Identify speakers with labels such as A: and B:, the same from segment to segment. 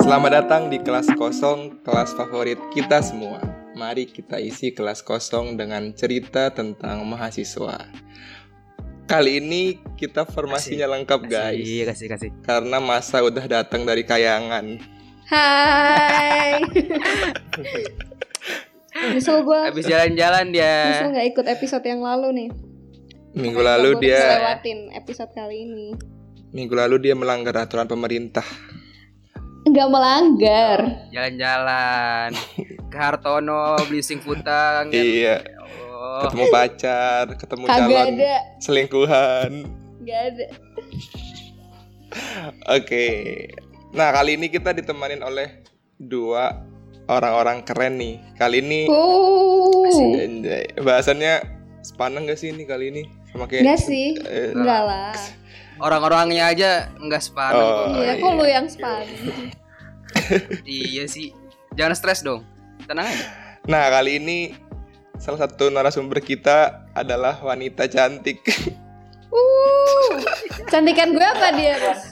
A: Selamat datang di kelas kosong, kelas favorit kita semua. Mari kita isi kelas kosong dengan cerita tentang mahasiswa. Kali ini kita formasinya lengkap guys,
B: Iya kasih kasih.
A: karena masa udah datang dari kayangan.
C: Hai. Nyesel gue.
B: Habis jalan-jalan dia.
C: Nyesel nggak ikut episode yang lalu nih.
A: ya. Minggu lalu
C: Makanya gua bisa
A: dia,
C: lewatin episode kali ini.
A: minggu lalu dia melanggar aturan pemerintah.
C: Nggak melanggar.
B: Jalan-jalan. Ke Hartono, beli sing futang. ya
A: Iya,
B: Allah.
A: ketemu pacar, ketemu
C: Kagak
A: calon
C: ada.
A: selingkuhan.
C: Nggak ada.
A: Oke. Nah, kali ini kita ditemanin oleh dua orang-orang keren nih. Kali ini
C: Uh.
A: Anjay. bahasannya sepaneng gak sih ini kali ini? Sama kayak
C: Nggak sih.
A: eh,
C: Enggak lah.
B: Orang-orangnya aja enggak sepadan.
A: Oh,
C: Iya, kok
A: iya.
C: lu yang span.
B: Iya sih. Jangan stres dong. Tenang aja.
A: Nah, kali ini salah satu narasumber kita adalah wanita cantik.
C: Uh. Cantikan gue apa dia? Bos?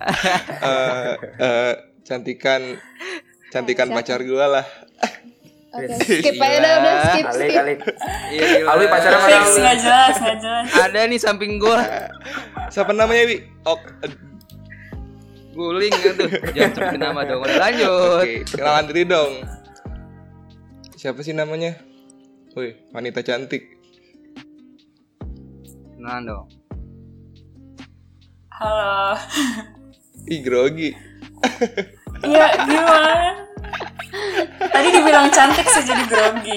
A: Eh, eh, cantikan cantikan
C: Siapa?
A: pacar gua lah.
C: Oke,
A: Iya.
C: skip aja dah, udah skip
D: Kali
C: skip.
D: kali.
B: Iya,
D: Alwi
B: gila.
D: pacaran sama
E: Fix nggak jelas nggak jelas.
B: Ada nih samping gua.
A: Siapa namanya, Wi? Ok, eh,
B: Guling gitu. Jangan sebutin nama dong. Udah
C: Oh,
B: lanjut.
A: Oke, kenalan diri dong. Siapa sih namanya? Wih, wanita cantik.
B: Nah dong.
E: Halo.
A: Ih, grogi.
E: Iya gimana? Tadi dibilang cantik sih jadi grogi.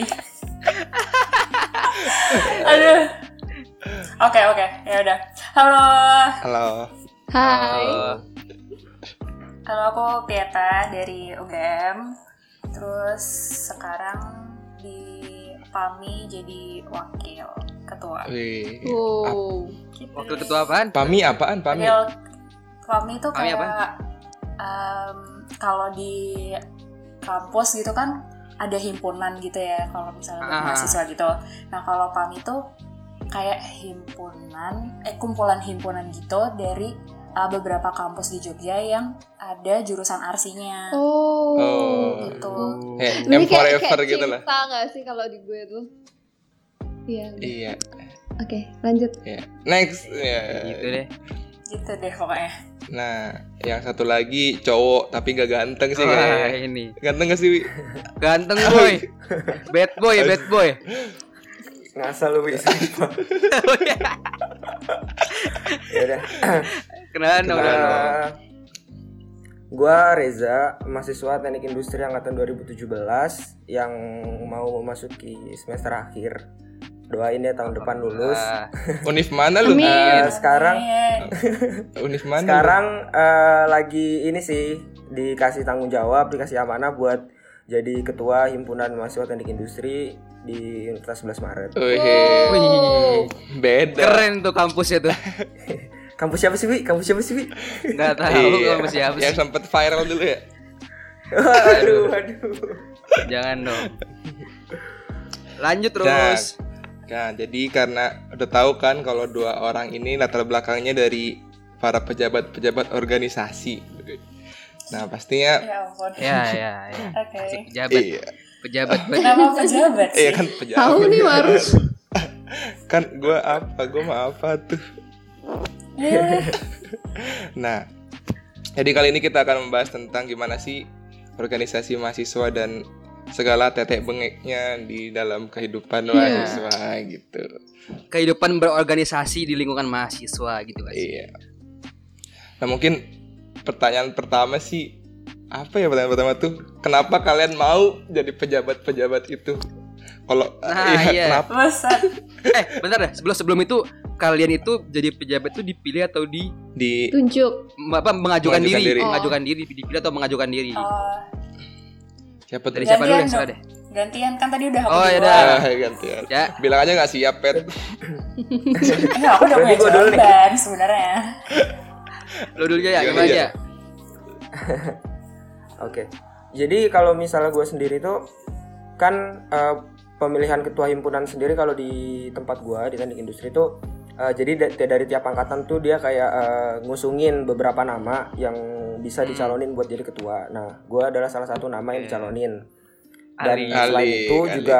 E: Aduh. Oke oke ya udah. Halo.
A: Halo.
C: Hai.
B: Eh,
E: Halo aku Pieta dari UGM. Terus sekarang di PAMI jadi wakil ketua.
A: Wih.
C: Wow.
E: Gitu.
B: Wakil ketua apaan?
A: Pami apaan, Pami?
E: Real Kami itu
B: Kami
E: kayak
B: apa?
E: em, kalau di kampus gitu kan ada himpunan gitu ya kalau misalnya buat
B: Ah.
E: mahasiswa gitu. Nah kalau PAM itu kayak himpunan, eh kumpulan himpunan gitu dari eh, beberapa kampus di Jogja yang ada jurusan arsinya
C: Oh.
A: Oh.
E: gitu.
A: Kayak M
C: Lebih kayak-
A: forever
C: kayak
A: gitu lah.
C: Cinta gak sih kalau di gue tuh? Iya. Oke,
A: Iya,
C: lanjut.
A: iya. Next. Iya.
B: Gitu deh.
E: Gitu deh pokoknya.
A: Nah, yang satu lagi cowok tapi gak ganteng sih
B: Wah,
A: kayaknya.
B: ini.
A: Ganteng gak sih, Wi?
B: Ganteng boy. Bad boy, bad boy.
D: Ngasal lu bisa. Ya udah.
B: Kenalan dong. kenalan dong.
D: Eh, Gua Reza, mahasiswa Teknik Industri angkatan 2017 yang mau memasuki semester akhir. Doain ya tahun depan lulus.
B: Ah,
A: Unif mana lu?
C: Amin.
B: Nah,
D: Eh, sekarang
E: Iya.
A: Unif mana? lu?
D: sekarang eh, lagi ini sih dikasih tanggung jawab, dikasih amanah buat jadi ketua himpunan mahasiswa Teknik Industri di Universitas 11 Maret.
A: Wih,
C: Wow.
A: beda.
B: Keren tuh kampusnya tuh.
D: Kampus siapa sih, Wi? Kampus siapa sih, Wi?
B: Gak tahu
A: Iya.
B: kampus siapa
A: Yang
B: sih.
A: sempet viral dulu ya.
D: aduh, aduh.
B: Jangan dong. Lanjut
A: Nah,
B: terus.
A: nah, jadi karena udah tahu kan kalau dua orang ini latar belakangnya dari para pejabat-pejabat organisasi. Nah, pastinya
E: Ya ampun. Oke.
B: Ya ya ya. Asik pejabat,
A: iya.
B: pejabat. pejabat.
E: Nama pejabat
A: Iya
E: sih.
A: kan pejabat.
C: Tahu nih harus.
A: kan gue apa gue mah apa tuh nah jadi kali ini kita akan membahas tentang gimana sih organisasi mahasiswa dan segala tetek bengeknya di dalam kehidupan mahasiswa gitu
B: Kehidupan berorganisasi di lingkungan mahasiswa gitu kan.
A: iya nah mungkin pertanyaan pertama sih apa ya pertanyaan pertama tuh kenapa kalian mau jadi pejabat-pejabat itu kalau
B: Nah,
A: iya,
B: iya.
A: kenapa
E: Bosan.
B: Eh, bentar deh. Sebelum sebelum itu kalian itu jadi pejabat itu dipilih atau di
A: di
C: Tunjuk.
B: apa
A: Mengajukan
B: mengajukan, diri,
A: diri.
C: Oh.
B: mengajukan diri dipilih atau mengajukan diri.
E: Oh,
A: siapa
B: Dari
A: tuh
B: siapa dulu
E: Gantian
B: deh, siapa
E: dong.
B: deh?
E: gantian kan tadi udah aku
B: Oh, ya
E: duluan.
B: udah.
A: ah, gantian
B: Ya,
A: bilang aja nggak siap pet
E: Eh, aku udah
D: Berarti
E: punya
D: gua dulu nih.
E: jawaban sebenarnya.
B: lo dulu aja ya,
A: Iya,
B: gimana
A: iya.
B: aja?
D: Oke. Jadi kalau misalnya gue sendiri tuh kan eh, pemilihan ketua himpunan sendiri kalau di tempat gue di teknik industri tuh eh, jadi da- dari tiap angkatan tuh dia kayak eh, ngusungin beberapa nama yang bisa dicalonin buat jadi ketua. Nah, gue adalah salah satu nama
B: Hmm.
D: yang dicalonin. Dan
B: Ali.
D: selain
A: Ali,
D: itu
A: Ali.
D: juga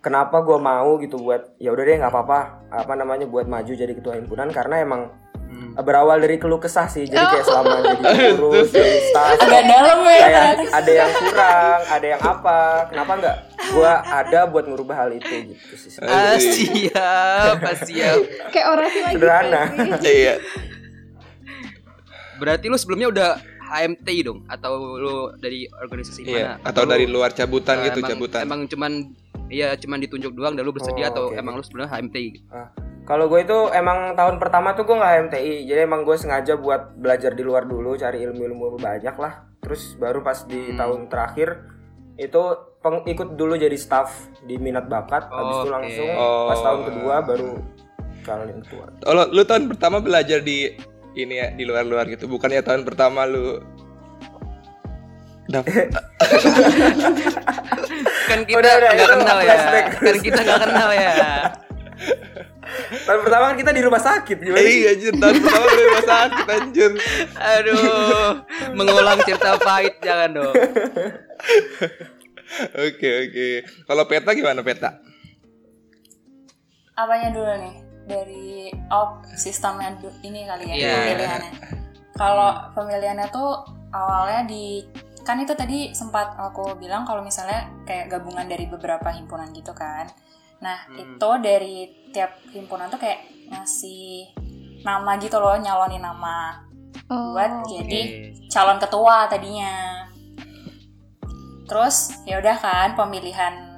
D: kenapa gue mau gitu buat ya udah deh nggak apa-apa apa namanya buat maju jadi ketua himpunan karena emang
B: Hmm.
D: berawal dari keluh kesah sih jadi kayak selama jadi pengurus jadi staff
E: Agak dalam ya
D: kayak
E: ternyata.
D: ada yang kurang ada yang apa kenapa nggak gue ada buat ngubah hal itu gitu sih
B: Ah, siap, ah, siap.
C: Kayak orasi lagi.
D: Sederhana.
C: Febri.
A: Iya.
B: Berarti lu sebelumnya udah HMT dong atau lu dari organisasi
A: Iya.
B: mana?
A: Atau dari luar
B: Nah,
A: cabutan gitu,
B: emang,
A: cabutan.
B: Emang cuman iya cuman ditunjuk doang dan lu bersedia
D: Oh,
B: atau
D: oke.
B: emang lu sebenarnya HMT gitu.
D: Ah. Kalau gue itu emang tahun pertama tuh gue nggak MTI, jadi emang gue sengaja buat belajar di luar dulu, cari ilmu-ilmu banyak lah. Terus baru pas di
B: Hmm.
D: tahun terakhir itu peng- ikut dulu jadi staff di minat bakat, habis itu
B: Oke.
D: langsung
A: Oh.
D: pas tahun kedua baru calon ketua.
A: Oh, lo- lu tahun pertama belajar di ini ya di luar-luar gitu. Bukannya tahun pertama lu daftar
B: Kan kita
D: Udah, udah,
B: nggak
D: itu
B: kenal ya.
D: flashback.
B: Kan kita nggak kenal ya.
D: Tahun pertama kan kita di rumah sakit, gimana sih?
A: Iya anjir, tahun pertama lu rumah sakit anjir.
B: Aduh, mengulang cerita pahit jangan dong.
A: Oke, oke. Kalau peta gimana peta?
E: apanya dulu nih dari op sistemnya du- ini kali ya
B: Iya.
E: pemilihannya kalau pemilihannya tuh awalnya di kan itu tadi sempat aku bilang kalau misalnya kayak gabungan dari beberapa himpunan gitu kan nah
B: Hmm.
E: itu dari tiap himpunan tuh kayak ngasih nama gitu loh nyalonin nama
C: Oh.
E: buat jadi calon ketua tadinya. Terus ya udah kan pemilihan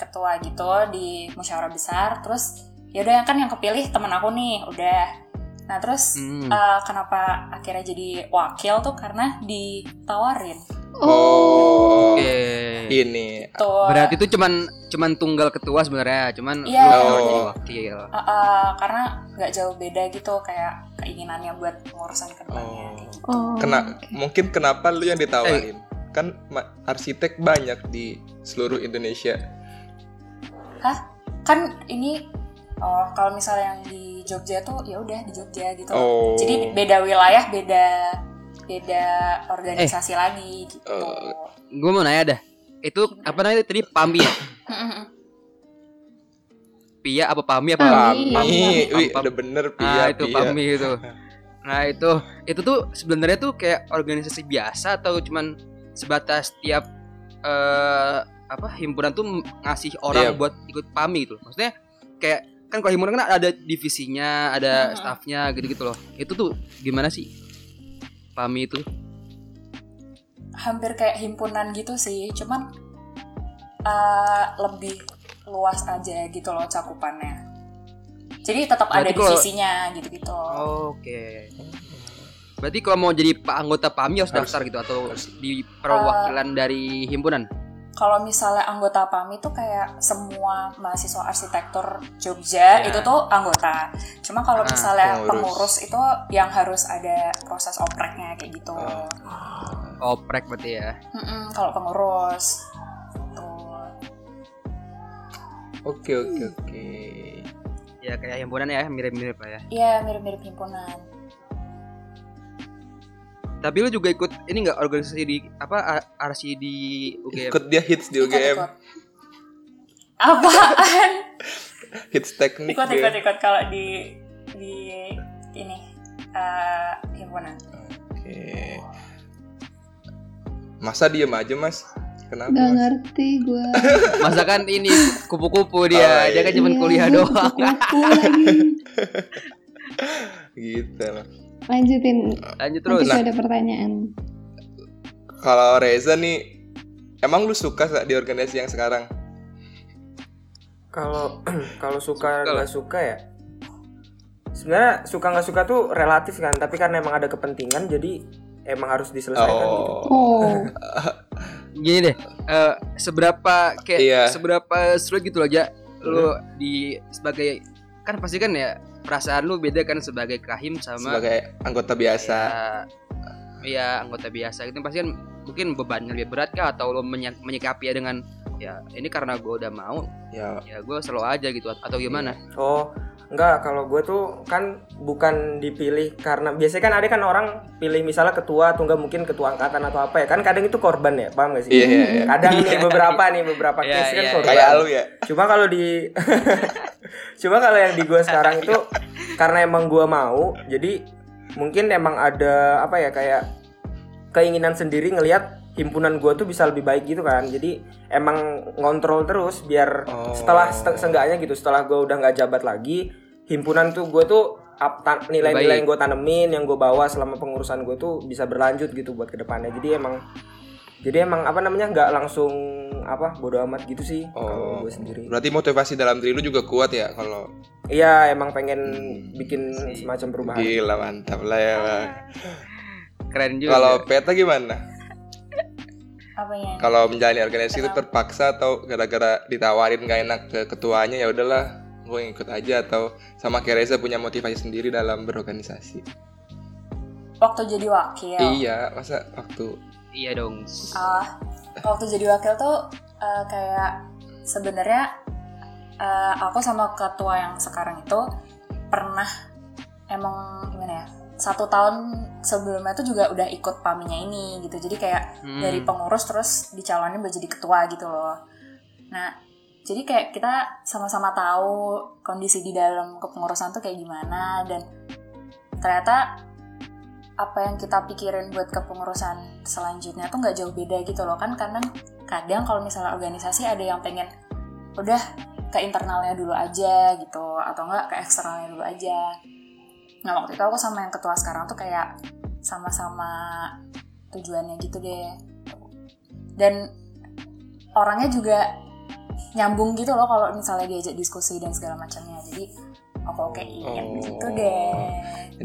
E: ketua gitu di musyawarah besar. Terus ya udah yang kan yang kepilih temen aku nih, udah. Nah terus
B: Hmm.
E: eh, kenapa akhirnya jadi wakil tuh karena ditawarin.
A: Oh.
B: Oke.
A: Ini.
E: Tuh.
B: Berarti itu cuman cuman tunggal ketua sebenarnya, cuman
E: Iya.
B: lu kalau jadi
A: Oh.
B: wakil.
E: eh, eh, karena nggak jauh beda gitu kayak keinginannya buat ngurusan kedepannya.
A: Oh.
E: kayak gitu.
C: Oh.
A: Kena mungkin kenapa lu yang ditawarin?
B: Eh.
A: Kan ma- arsitek banyak di seluruh Indonesia.
E: Kan ini oh kalau misalnya yang di Jogja tuh ya udah di Jogja gitu.
A: Oh.
E: Jadi beda wilayah, beda beda organisasi lagi gitu.
A: Eh.
B: Gue mau nanya dah. Itu apa namanya tadi Pami ya? Pia apa Pami apa?
A: Pami,
C: Pam,
B: pam,
A: Wih,
B: pam.
A: udah bener ya,
B: ah
A: pia,
B: itu
A: pia.
B: Pami itu. Nah itu itu tuh sebenarnya tuh kayak organisasi biasa atau cuman sebatas tiap eh apa himpunan tuh ngasih orang
A: Iya.
B: buat ikut Pami gitu. Maksudnya kayak kan kalau himpunan kan ada divisinya, ada
E: Mhm.
B: staffnya gitu-gitu loh. Itu tuh gimana sih? Pami itu.
E: Hampir kayak himpunan gitu sih, cuman eh, lebih luas aja gitu loh cakupannya. Jadi tetap ada
B: Berarti kalau- Oh.
E: divisinya gitu-gitu.
B: Oke. Berarti kalau mau jadi pak anggota PAMI harus,
A: Harus.
B: daftar gitu atau di perwakilan dari himpunan.
E: Kalau misalnya anggota PAMI itu kayak semua mahasiswa arsitektur
B: Ya.
E: Jogja itu tuh anggota. Cuma kalau
B: Ah,
E: misalnya
A: pengurus.
E: pengurus. itu yang harus ada proses opreknya kayak gitu.
A: Oh.
B: Oprek berarti ya.
E: Mm-mm, kalau pengurus. Gitu. Tuh.
A: Oke, oke, oke.
B: Ya kayak himpunan ya, mirip-mirip lah ya.
E: Iya, mirip-mirip himpunan.
B: Tapi lu juga ikut ini enggak organisasi di apa arsi di UGM?
A: Ikut dia hits di
E: Ikut,
A: UGM,
E: ikut. Apaan?
A: hits teknik
E: ikut, ikut,
A: dia.
E: ikut. Kalau di di ini eh himpunan.
A: Oke. Masa diem aja, Mas? Kenapa?
C: Gak
A: Mas?
C: ngerti gue.
B: Masa kan ini kupu-kupu dia,
A: Oh, iya.
B: dia kan cuma
C: Iya,
B: kuliah
C: gua
B: doang.
C: kupu-kupu lagi.
A: Gitu. lah.
C: Lanjutin.
B: Lanjut
C: Terus
B: terus.
C: Nanti gua ada pertanyaan.
A: Kalau Reza nih, emang lu suka Sa, di organisasi yang sekarang?
D: Kalau kalau suka
B: Suka lah.
D: nggak suka ya, sebenarnya suka nggak suka tuh relatif kan, tapi karena emang ada kepentingan jadi emang harus diselesaikan gitu.
A: Oh.
C: Oh.
B: Nah, Gini deh, eh, seberapa kayak
A: Iya.
B: seberapa sulit gitu loh aja lu di sebagai kan pasti kan ya perasaan lu beda kan sebagai kahim sama
A: Sebagai anggota biasa.
B: ya, ya, anggota biasa gitu pasti kan mungkin bebannya lebih berat kah atau lo menya- menyikapi ya dengan ya ini karena gue udah mau
A: Ya,
B: ya gue selalu aja gitu atau gimana
D: Oh, Enggak, kalau gue tuh kan bukan dipilih karena biasanya kan ada kan orang pilih misalnya ketua atau enggak mungkin ketua angkatan atau apa ya kan kadang itu korban ya paham gak sih?
A: Iya, iya, iya.
D: Kadang nih beberapa nih beberapa
B: Iya,
D: case kan
B: iya,
D: korban.
A: Kayak lu ya.
D: Cuma kalau di Cuma kalau yang di gua sekarang itu karena emang gua mau, jadi mungkin emang ada apa ya kayak keinginan sendiri ngelihat himpunan gua tuh bisa lebih baik gitu kan. Jadi emang ngontrol terus biar
A: Oh.
D: setelah se- seenggaknya gitu setelah gua udah nggak jabat lagi, himpunan tuh gua tuh up- tan- nilai-nilai yang gue tanemin, yang gue bawa selama pengurusan gue tuh bisa berlanjut gitu buat kedepannya. Jadi emang, jadi emang apa namanya nggak langsung apa bodo amat gitu sih
A: Oh,
D: kalau gue sendiri.
A: berarti motivasi dalam diri lu juga kuat ya kalau
D: Iya emang pengen bikin semacam perubahan.
A: gila mantap lah ya. Bang.
B: Keren
A: Iya.
B: juga. ya.
A: Kalau Peta gimana?
E: Apanya?
A: Kalau menjalani organisasi itu terpaksa atau gara-gara ditawarin gak enak ke ketuanya ya udahlah gue ikut aja atau sama kayak Reza punya motivasi sendiri dalam berorganisasi.
E: Waktu jadi wakil.
A: Iya, masa waktu
B: iya dong.
E: Ah, waktu jadi wakil tuh eh, kayak sebenarnya eh, aku sama ketua yang sekarang itu pernah emang gimana ya satu tahun sebelumnya tuh juga udah ikut paminya ini gitu jadi kayak
B: Hmm.
E: dari pengurus terus dicalonin buat jadi ketua gitu loh nah jadi kayak kita sama-sama tahu kondisi di dalam kepengurusan tuh kayak gimana dan ternyata apa yang kita pikirin buat kepengurusan selanjutnya tuh nggak jauh beda gitu loh kan kadang kadang kalau misalnya organisasi ada yang pengen udah ke internalnya dulu aja gitu atau enggak ke eksternalnya dulu aja nah waktu itu aku sama yang ketua sekarang tuh kayak sama-sama tujuannya gitu deh dan orangnya juga nyambung gitu loh kalau misalnya diajak diskusi dan segala macamnya jadi aku okein
A: Oh.
E: gitu deh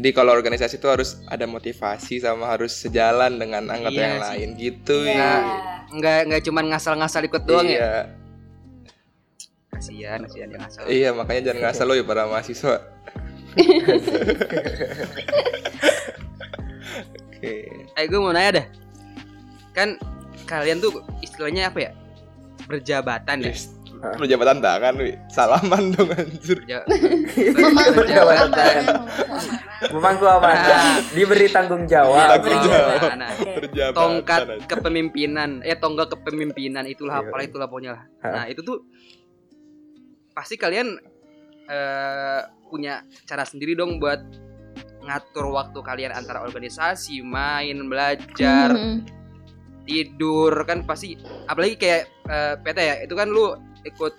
A: Jadi kalau organisasi itu harus ada motivasi sama harus sejalan dengan anggota
B: Iya
A: yang
B: sih.
A: lain gitu
E: Iya.
B: Enggak enggak cuman ngasal-ngasal ikut doang
A: iya.
B: ya. Kasihan, kasihan yang ngasal.
A: Iya, makanya jangan ngasal lo ya para mahasiswa. Oke.
B: Eh gue mau nanya dah. Kan kalian tuh istilahnya apa ya? Berjabatan ya.
A: Yes. Lu jabatan tangan, Wi. Salaman dong anjir.
B: Berja-
C: Mama,
B: berjabatan.
D: Memang gua apa?
B: Nah. Iya,
D: Diberi tanggung jawab.
A: Tanggung jawab.
B: Nah,
E: Iya.
A: Berjabatan.
B: tongkat kepemimpinan eh tonggak kepemimpinan itulah
D: Iya.
B: apalah itulah pokoknya lah
D: Hah.
B: nah itu tuh pasti kalian eh, punya cara sendiri dong buat ngatur waktu kalian antara organisasi main belajar
C: Hmm.
B: tidur kan pasti apalagi kayak eh, PT ya itu kan lu ikut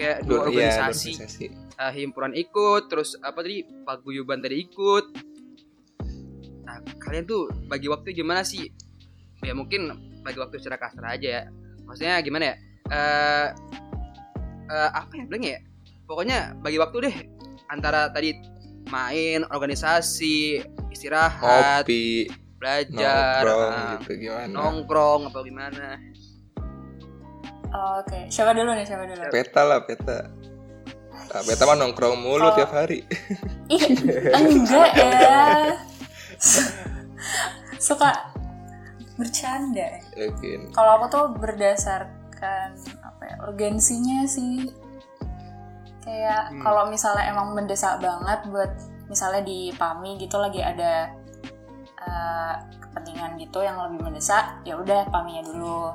B: kayak dua
A: Dur- iya,
B: organisasi
A: organisasi.
B: eh, himpunan ikut, terus apa tadi paguyuban tadi ikut. Nah, kalian tuh bagi waktu gimana sih? Ya mungkin bagi waktu secara kasar aja ya. Maksudnya gimana ya? Eh eh, apa ya bilang ya? Pokoknya bagi waktu deh antara tadi main, organisasi, istirahat,
A: Kopi,
B: belajar,
A: nongkrong
B: ah,
A: gitu gimana.
B: nongkrong apa gimana.
E: oke siapa dulu nih siapa dulu
A: Peta lah, peta. Nah, peta mah nongkrong mulu
E: Kalau-
A: tiap hari.
E: Ih, enggak ya suka bercanda
A: Mungkin.
E: kalau aku tuh berdasarkan apa ya urgensinya sih kayak
B: Hmm.
E: kalau misalnya emang mendesak banget buat misalnya di PAMI gitu lagi ada eh, kepentingan gitu yang lebih mendesak ya udah PAMI-nya dulu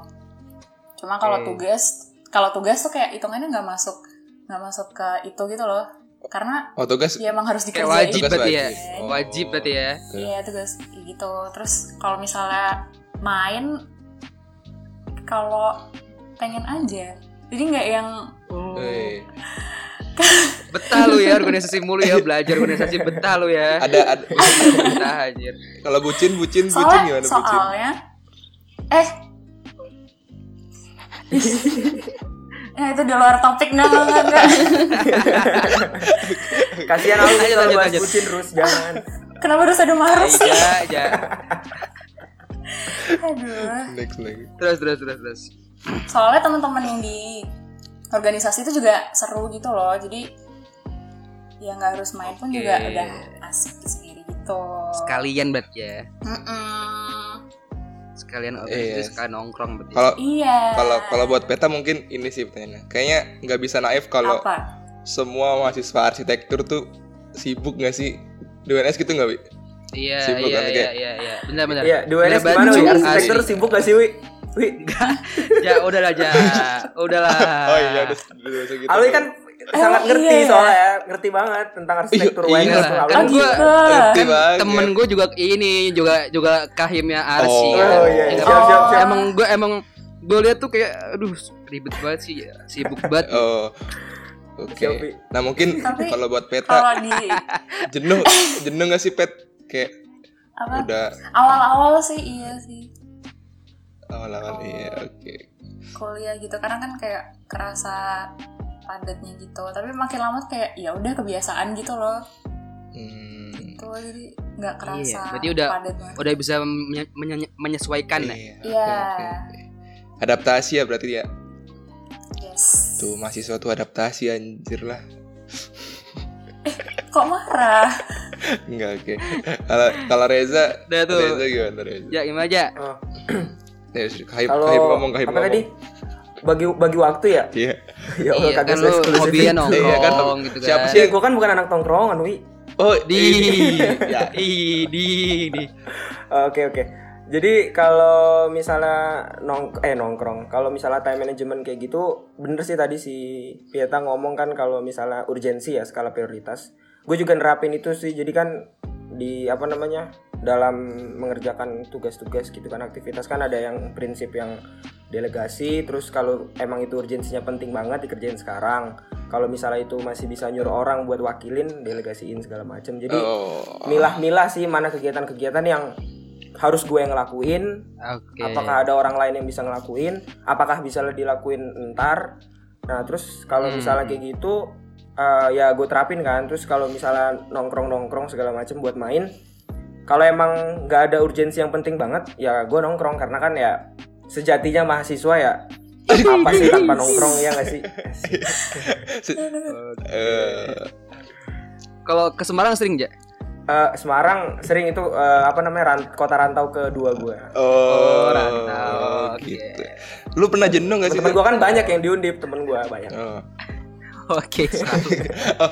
E: cuma kalau
D: Hmm.
E: tugas kalau tugas tuh kayak hitungannya nggak masuk nggak masuk ke itu gitu loh karena
A: Oh, tugas
E: ya emang harus
B: Kayak
E: dikerjain
B: wajib
A: Tugas
B: berarti ya.
A: wajib. Oh.
B: Wajib berarti ya.
E: Iya tugas kayak gitu. Terus kalau misalnya main, kalau pengen aja, jadi nggak yang
A: Eh,
B: Betah lu ya organisasi mulu ya, belajar organisasi betah lu ya.
A: ada, ada
B: Betah anjir.
A: kalau bucin bucin bucin
E: soalnya
A: gimana bucin?
E: soalnya eh Nah, itu di luar topik nggak nggak, nggak, nggak.
D: Kasihan aku
B: Lanjut, lanjut,
D: kalau bahas
B: lanjut.
D: bucin terus jangan.
E: Kenapa harus ada maruf sih?
B: Aja, aja.
E: Aduh.
A: Next next.
B: Terus terus terus terus.
E: Soalnya teman-teman yang di organisasi itu juga seru gitu loh. Jadi ya nggak harus main pun juga
B: Oke.
E: udah asik sendiri gitu.
B: Sekalian bet ya.
E: Mm-mm.
B: Sekalian
A: Iya.
B: organisasi, sekalian nongkrong berarti. ya?
A: Kalau
E: Iya.
A: kalau kalau buat peta mungkin ini sih pertanyaannya. Kayaknya nggak bisa naif kalau
E: apa?
A: semua mahasiswa arsitektur tuh sibuk gak sih di UNS gitu gak Wi?
B: Iya,
A: Sibuk
B: iya,
A: kan,
B: iya,
A: kayak-
B: iya, iya. Benar, benar.
D: Iya, di UNS
B: Bener
D: gimana
B: banget,
D: Wi?
B: cuy.
D: Arsitektur
B: Asli.
D: sibuk gak sih Wi? Wi,
B: Ya udahlah, Ja. Udahlah.
A: Oh iya udah udah segitu.
D: Alwi kan
B: Oh,
D: sangat
E: iya
D: ngerti
E: ya?
D: soalnya, ngerti banget tentang arsitektur
A: Iya,
D: UNS.
B: iya.
D: tuh, Alwi.
B: Kan
E: Oh,
B: gua-
E: gitu.
A: Ngerti banget.
B: Temen gue juga ini juga juga kahimnya Arsi.
A: Iya. Oh,
B: kan.
D: Oh iya,
B: Yang
D: siap siap siap.
B: emang gue emang gue lihat tuh kayak aduh ribet banget sih sibuk banget
A: Oh. Oke.
D: Siap, Wi.
A: Nah, mungkin
E: Tapi-
A: kalau buat peta
E: Kalau di
A: jenuh jenuh gak sih pet kayak
E: apa
A: udah
E: awal-awal sih iya sih
A: awal-awal
E: Oh.
A: iya oke.
E: kuliah gitu karena kan kayak kerasa padatnya gitu tapi makin lama tuh kayak ya udah kebiasaan gitu loh
A: Hmm.
E: tuh jadi nggak kerasa
B: Iya, berarti udah-
E: padat banget
B: udah bisa menye- menye-
D: Kan.
B: menyesuaikan ya
A: Iya.
E: Iya.
A: oke, oke, oke. Adaptasi ya berarti ya.
E: yes
A: Tuh mahasiswa tuh adaptasi anjir lah.
E: kok marah
A: Enggak oke. Kalau kalau Reza,
B: udah tuh
A: Reza gimana Reza?
B: ya gimana aja
D: Oh,
A: Ya, Kahib,
D: Kalau
A: kahib ngomong, kahib
D: apa
A: ngomong.
D: tadi? Bagi bagi waktu ya?
A: Iya.
D: ya Allah,
B: iya,
D: kagak
B: kan lu
D: eksklusif.
B: hobinya
A: Iya, kan,
B: nongkrong gitu kan
A: siapa
D: Iya, gua kan bukan anak tongkrongan, Wi.
A: Oh,
B: di
A: ya.
B: di di di
D: Oke oke. Jadi kalau misalnya nong eh nongkrong, kalau misalnya time management kayak gitu, bener sih tadi si Pieta ngomong kan kalau misalnya urgensi ya skala prioritas. Gue juga nerapin itu sih. Jadi kan di apa namanya dalam mengerjakan tugas-tugas gitu kan aktivitas kan ada yang prinsip yang delegasi terus kalau emang itu urgensinya penting banget dikerjain sekarang kalau misalnya itu masih bisa nyuruh orang buat wakilin delegasiin segala macam jadi
A: Oh.
D: milah-milah sih mana kegiatan-kegiatan yang harus gue yang ngelakuin
B: oke
D: apakah ada orang lain yang bisa ngelakuin apakah bisa dilakuin ntar nah terus kalau
B: Hmm.
D: misalnya kayak gitu eh, ya gue terapin kan terus kalau misalnya nongkrong nongkrong segala macem buat main kalau emang nggak ada urgensi yang penting banget ya gue nongkrong karena kan ya sejatinya mahasiswa ya apa sih tanpa nongkrong ya nggak sih
A: Eh,
B: kalau ke Semarang sering ja
D: Eh, Semarang sering itu eh, apa namanya ran- kota rantau kedua gue
A: oh,
B: rantau, oke.
A: gitu. Lu pernah jenuh gak sih? Bang?
D: temen gue kan banyak yang diundip temen gue banyak
A: Oh.
B: oke selalu.
A: Oh,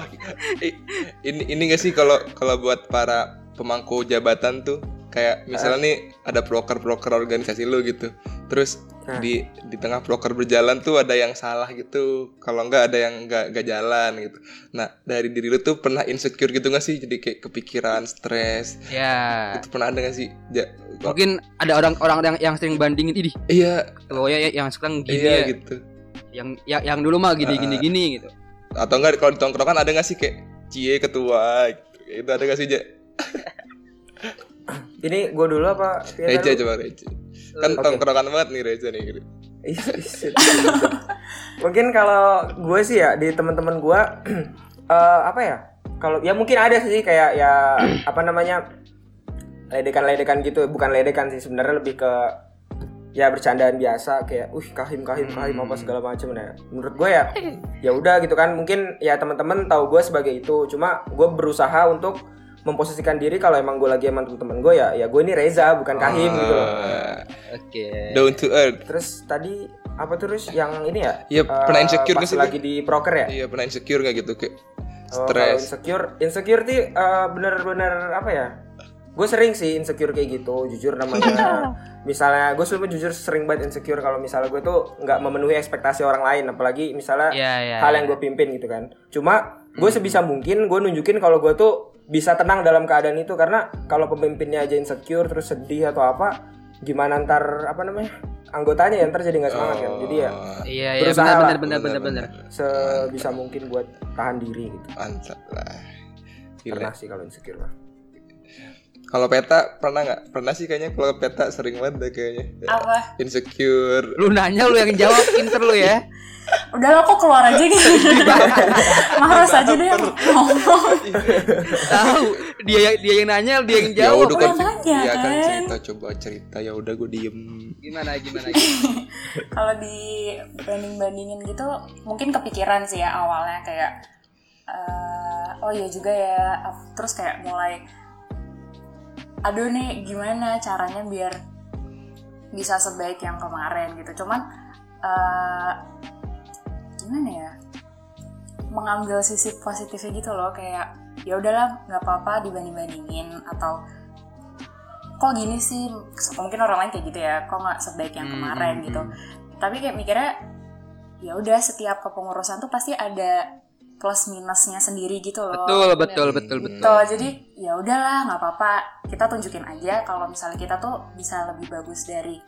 A: i- ini ini gak sih kalau kalau buat para pemangku jabatan tuh kayak
B: Ah.
A: misalnya nih ada proker-proker organisasi lu gitu. Terus
B: Ah.
D: Nah.
A: di di tengah proker berjalan tuh ada yang salah gitu. Kalau enggak ada yang enggak enggak jalan gitu. Nah, dari diri lu tuh pernah insecure gitu gak sih? Jadi kayak kepikiran, stres.
B: ya
A: Itu pernah ada gak sih? Ja-
B: mungkin ada orang-orang yang yang sering bandingin ini
A: iya,
B: kalau ya yang sekarang gini
A: iya
B: ya
A: gitu.
B: yang yang, yang dulu mah gini gini gini gitu
A: Atau enggak kalau di tongkrongan ada gak sih kayak cie ketua gitu. Itu ada gak sih, Ja?
D: ini gue dulu apa Fia
B: Iya,
A: Reja
D: dulu?
A: coba Reja. Kan
D: Oke.
A: tongkrongan banget nih Reja nih. gitu.
D: Ih, shit. mungkin kalau gue sih ya di teman-teman gue eh, apa ya kalau ya mungkin ada sih kayak ya apa namanya ledekan-ledekan gitu bukan ledekan sih sebenarnya lebih ke ya bercandaan biasa kayak uh kahim kahim kahim apa segala macam nah menurut gue ya ya udah gitu kan mungkin ya teman-teman tahu gue sebagai itu cuma gue berusaha untuk memposisikan diri kalau emang gue lagi sama teman-teman gue ya ya gue ini Reza bukan kahim gitu loh
A: Ah,
B: oke
A: Down to earth.
D: Terus tadi apa terus yang ini ya?
A: Iya,
D: Eh,
A: pernah insecure
D: pas
A: nggak sih?
D: lagi di proker ya?
A: Iya, pernah insecure gak gitu kayak
D: Oh, kalau
A: stres.
D: insecure, insecure tuh eh, bener-bener apa ya? Gue sering sih insecure kayak gitu, jujur namanya. misalnya gue sumpah jujur sering banget insecure kalau misalnya gue tuh nggak memenuhi ekspektasi orang lain, apalagi misalnya
B: ya ya Hmm.
D: hal yang gue pimpin gitu kan. Cuma gue sebisa mungkin gue nunjukin kalau gue tuh bisa tenang dalam keadaan itu karena kalau pemimpinnya aja insecure terus sedih atau apa, gimana ntar apa namanya anggotanya yang terjadi nggak semangat kan. Jadi ya
A: Oh,
B: iya iya
D: berusaha
B: benar
D: lah.
B: benar benar benar benar
D: sebisa mungkin buat tahan diri gitu.
A: Mantap lah. Gila.
B: Iya.
D: Pernah sih kalau insecure mah.
A: Kalau peta pernah nggak? Pernah sih kayaknya kalau peta sering banget deh kayaknya.
E: apa
A: Insecure.
B: lu nanya lu yang jawab pinter lu ya
E: udah lo kok keluar aja gitu marah saja deh yang ngomong
B: tahu dia yang- dia yang nanya dia yang
A: ya
B: jawab
A: udah kan,
E: Ulang aja,
A: ya kan
E: kan?
A: cerita coba cerita ya udah gue diem.
B: gimana gimana gimana?
E: kalau di banding bandingin gitu mungkin kepikiran sih ya awalnya kayak eh, oh iya juga ya terus kayak mulai aduh nih gimana caranya biar bisa sebaik yang kemarin gitu cuman eh, gimana ya mengambil sisi positifnya gitu loh kayak ya udahlah nggak apa-apa dibanding bandingin atau kok gini sih mungkin orang lain kayak gitu ya kok nggak sebaik yang
B: Hmm,
E: kemarin
B: hmm,
E: gitu
B: hmm.
E: tapi kayak mikirnya ya udah setiap kepengurusan tuh pasti ada plus minusnya sendiri gitu loh
B: Betul, betul, betul,
A: Hmm.
B: betul.
E: Tuh, jadi ya udahlah nggak apa-apa kita tunjukin aja kalau misalnya kita tuh bisa lebih bagus dari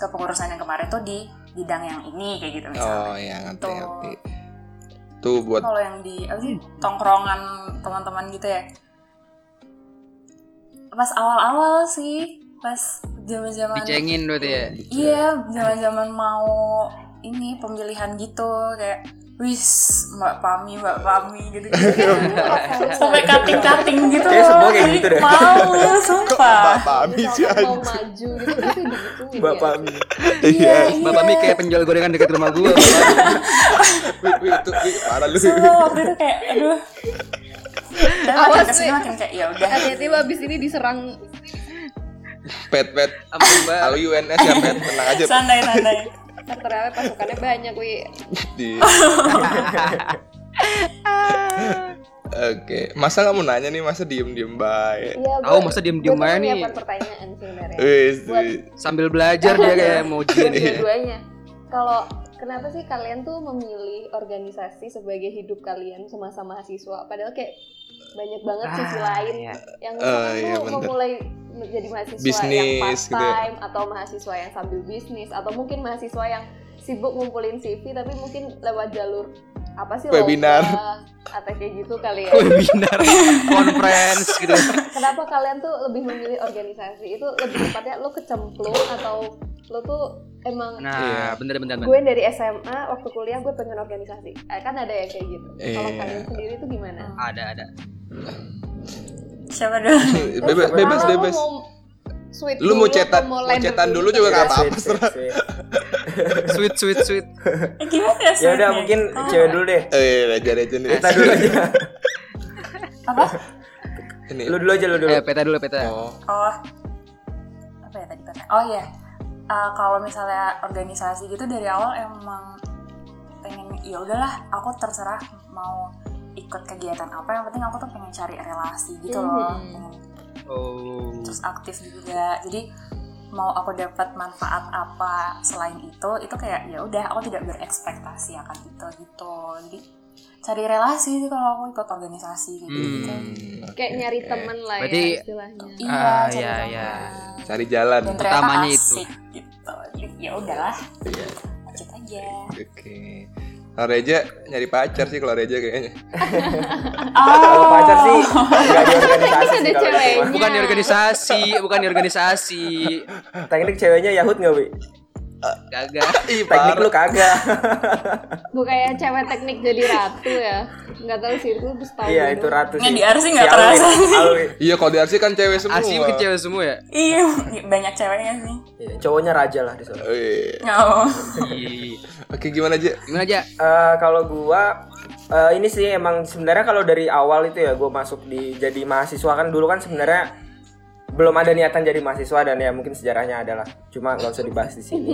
E: kepengurusan yang kemarin tuh di bidang yang ini kayak gitu
A: Oh
E: misalnya
A: ya ngerti
E: Tuh.
A: ngerti. Tuh buat
E: kalau yang di apa sih, tongkrongan teman-teman gitu ya pas awal-awal sih pas zaman-zaman
B: Dicengin berarti ya.
E: Iya, zaman-zaman mau ini pemilihan gitu kayak wis Mbak Pami, Mbak Pami gitu gitu. Sampai cutting-cutting gitu.
D: Iya, Kayaknya semua
E: loh.
D: kayak gitu deh.
E: Malu, sumpah.
A: Pami sih
C: Kalau mau
A: anjing.
C: maju gitu pasti digituin ya.
D: Bapak Mi. ya?
A: Iya.
E: iya.
B: Bapak Mi kayak penjual gorengan dekat rumah gua.
A: Wih, wih, itu wih, parah lu.
E: Sumpah iya, waktu itu kayak aduh. Dan makin
C: Awas,
E: kesini
C: Mi.
E: makin kayak ya udah.
C: Hati-hati Mbak, abis ini diserang
A: Pet pet.
B: Ampun, Mbak.
A: Kalau UNS ya pet tenang aja. Pet.
E: Santai-santai.
C: Ntar ternyata pasukannya banyak wi
A: Di- Oke, masa kamu nanya nih masa diem diem baik.
C: Iya
B: Tahu masa diem-diem aja nih. Eh,
C: pertanyaan sebenarnya
A: Wis,
C: Buat-
A: wis.
B: Sambil belajar dia kayak mau
A: Iya.
C: Dan
B: ujian.
C: dua-duanya Kalau kenapa sih kalian tuh memilih organisasi sebagai hidup kalian semasa mahasiswa Padahal kayak banyak banget sisi
B: Ah,
C: lain
B: iya.
C: yang
A: Eh,
C: misalkan
A: iya,
C: tuh
A: bener.
C: memulai menjadi mahasiswa yang
A: Bisnis,
C: part
A: gitu ya.
C: time atau mahasiswa yang sambil bisnis atau mungkin mahasiswa yang sibuk ngumpulin CV tapi mungkin lewat jalur apa sih
A: Webinar.
C: lomba, atau kayak gitu kali ya
B: Webinar, conference gitu.
C: kenapa kalian tuh lebih memilih organisasi itu lebih tepatnya lo kecemplung atau lo tuh emang
A: Iya.
B: Nah, bener bener bener.
C: gue dari SMA waktu kuliah gue pengen organisasi Eh, kan ada yang kayak gitu kalau
A: Iya.
C: kalian sendiri tuh gimana
B: Ada ada.
E: Siapa dulu?
A: Bebas,
C: Terus
A: Eh, bebas,
C: kalau lo
A: bebas.
C: mau sweet
A: Lu mau
C: dulu
A: cetan-
C: atau gitu?
A: mau
C: lender
A: cetan dulu juga kan?
C: Tapi
A: nggak apa-apa.
D: Sweet, sweet, sweet.
B: Sweet sweet sweet.
E: Eh, Gimana sih?
D: Ya udah mungkin
A: Oh.
D: cewek dulu deh.
A: Eh, belajar aja nih.
D: Kita dulu aja.
E: apa?
A: Ini.
D: Lu dulu aja lu dulu.
B: Eh, peta dulu peta.
A: Oh,
E: Oh, apa ya tadi kata? Oh iya, Eh, kalau misalnya organisasi gitu dari awal emang pengen ya udahlah, aku terserah mau ikut kegiatan apa. Yang penting aku tuh pengen cari relasi gitu loh,
C: Mhm.
E: pengen
B: Oh.
E: terus aktif juga. Jadi mau aku dapat manfaat apa selain itu, itu kayak ya udah aku tidak berekspektasi akan itu gitu. Jadi cari relasi sih kalau aku ikut organisasi gitu.
A: hmm, oke,
C: kayak nyari
A: oke.
C: temen lah
B: Berarti-
C: ya istilahnya
E: Iya,
B: Ah,
E: cari
B: iya,
E: teman.
B: iya.
A: Cari jalan.
E: dan
A: Oke.
E: ternyata
B: Utamanya itu.
E: asik gitu ya udahlah
A: Iya.
E: lanjut aja
A: Kalau Reja nyari pacar sih kalau Reja kayaknya.
E: Oh.
D: Kalau
A: Oh.
D: pacar sih nggak di organisasi
C: Kan ada
D: sih kalau gitu. di rumah.
C: ceweknya.
B: Bukan di organisasi, bukan di organisasi.
D: Teknik ceweknya Yahut nggak Wi?
B: Gagal.
A: Ih,
D: Teknik
A: parah.
D: lu kagak.
C: gue kayak cewek teknik jadi ratu ya nggak tahu sih itu gue tahu
D: Iya itu ratu
E: nggak
D: sih.
E: di RC nggak
D: Si Alwi,
E: terasa
D: Alwi.
A: Iya, kalau di RC kan cewek semua.
B: Asli ke cewek semua ya?
E: iya banyak ceweknya sih
D: Iya, Cowoknya raja lah di sana.
A: Wih.
E: oh.
B: Iya.
A: iya. Oke, gimana aja?
B: Gimana aja?
D: Eh, kalau gua eh, ini sih emang sebenarnya kalau dari awal itu ya gua masuk di jadi mahasiswa kan dulu kan sebenarnya belum ada niatan jadi mahasiswa dan ya mungkin sejarahnya adalah cuma nggak usah dibahas di sini.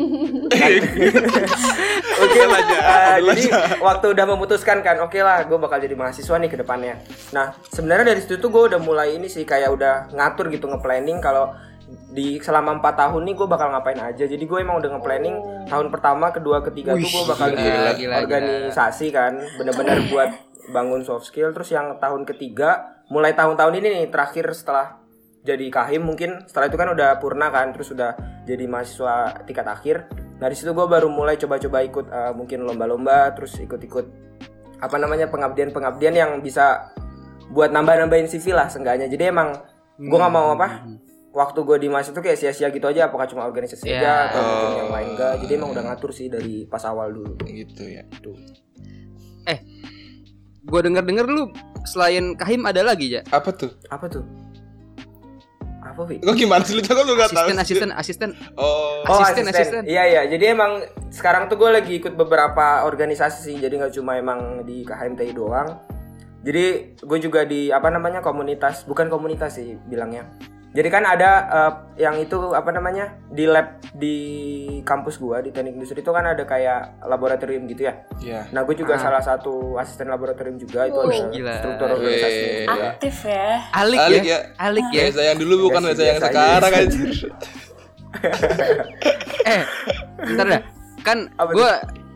D: Oke lah jadi waktu udah memutuskan kan, oke lah, gue bakal jadi mahasiswa nih ke depannya. Nah, sebenarnya dari situ tuh gue udah mulai ini sih kayak udah ngatur gitu nge-planning kalau di selama empat tahun nih gue bakal ngapain aja. Jadi gue emang udah nge-planning tahun pertama, kedua, ketiga tuh gue bakal
A: gila,
D: di
B: gila,
D: organisasi kan, bener-bener buat bangun soft skill. Terus yang tahun ketiga, mulai tahun-tahun ini nih terakhir setelah jadi kahim mungkin setelah itu kan udah purna kan terus udah jadi mahasiswa tingkat akhir nah di situ gue baru mulai coba-coba ikut eh, mungkin lomba-lomba terus ikut-ikut apa namanya pengabdian-pengabdian yang bisa buat nambah-nambahin CV lah seenggaknya jadi emang gue nggak mau apa waktu gue di mahasiswa itu kayak sia-sia gitu aja apakah cuma organisasi
B: Ya.
D: aja atau mungkin yang lain enggak jadi emang
A: Oh.
D: udah ngatur sih dari pas awal dulu
A: Gitu ya.
D: tuh
B: Gue denger-denger lu selain Kahim ada lagi ya?
A: Apa tuh?
D: apa tuh apa Vi?
A: Kok gimana sih lu Kok lu nggak tahu?
B: Asisten, asisten, asisten.
A: Oh,
D: Oh
B: Asisten,
D: asisten,
B: asisten.
D: Iya iya. Jadi emang sekarang tuh gue lagi ikut beberapa organisasi sih. Jadi nggak cuma emang di KHMTI doang. Jadi gue juga di apa namanya komunitas, bukan komunitas sih bilangnya. Jadi kan ada eh, yang itu apa namanya di lab di kampus gua di teknik industri itu kan ada kayak laboratorium gitu ya.
A: Iya.
D: Nah gua
B: Ah.
D: juga salah satu asisten laboratorium juga itu
C: Wih,
D: ada
B: gila.
D: struktur organisasi.
A: Wih.
D: juga.
E: aktif ya
B: Alik,
A: Alik
B: ya.
A: ya.
B: Alik ya.
A: Biasa yang dulu bukan
D: Biasa-
A: biasa yang
D: biasa aja.
A: sekarang anjir.
B: Eh, bentar dah. Kan
D: Apa
B: gue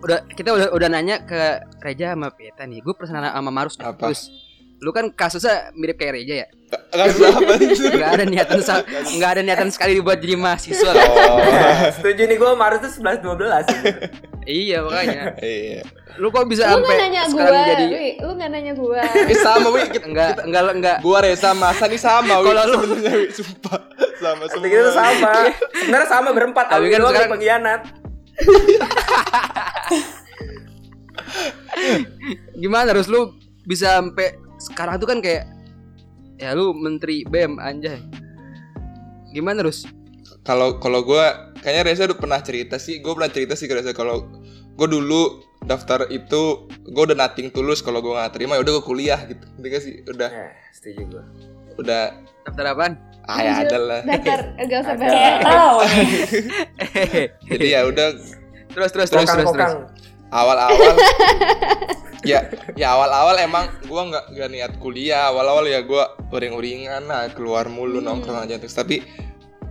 B: udah kita udah udah nanya ke Reja sama Peta nih. Gue pernah nanya sama Marus. nih.
A: Apa?
B: Terus, lu kan kasusnya mirip kayak Reja ya?
A: Enggak usah apa anjir.
B: Gak ada niatan sa- nggak ada niatan sekali dibuat jadi mahasiswa. kan?
A: Oh.
D: Setuju nih gua Maret tuh 11 12.
B: iya makanya.
A: Iya.
B: Lu kok bisa
C: Lu nggak
B: sampai
C: nanya
B: sekarang
C: gua,
B: jadi
C: Wi. lu nggak nanya gua.
A: Eh sama Wi, kita-
B: enggak enggak enggak
A: gua Reza masa nih sama Wi.
B: Kalau lu-
A: sebenarnya Wi, sumpah. Sama semua.
D: Kita tuh sama. Sebenarnya sama berempat
B: Iya. Tapi
D: tapi
B: kan
D: kan
B: sekarang-
D: pengkhianat.
B: gimana harus lu bisa sampai sekarang tuh kan kayak ya lu menteri BEM anjay. Gimana harus?
A: Kalau kalau gua kayaknya Reza udah pernah cerita sih. Gua pernah cerita sih ke Reza kalau gua dulu daftar itu gua udah nating tulus kalau gua nggak terima ya udah gua kuliah gitu. Ngerti nggak sih? Udah
D: Nah, setuju gua.
A: udah
B: Daftar apaan?
A: ah ya
C: Anjir,
A: ada lah.
C: Daftar enggak usah
D: Ada.
C: bahas.
E: kayak tahu nih
A: Jadi ya udah
B: terus terus terus terus terus.
D: Kokang-kokang.
A: awal-awal ya ya awal-awal emang gua nggak nggak niat kuliah awal-awal ya gua uring-uringan lah keluar mulu
C: Hmm.
A: nongkrong aja terus tapi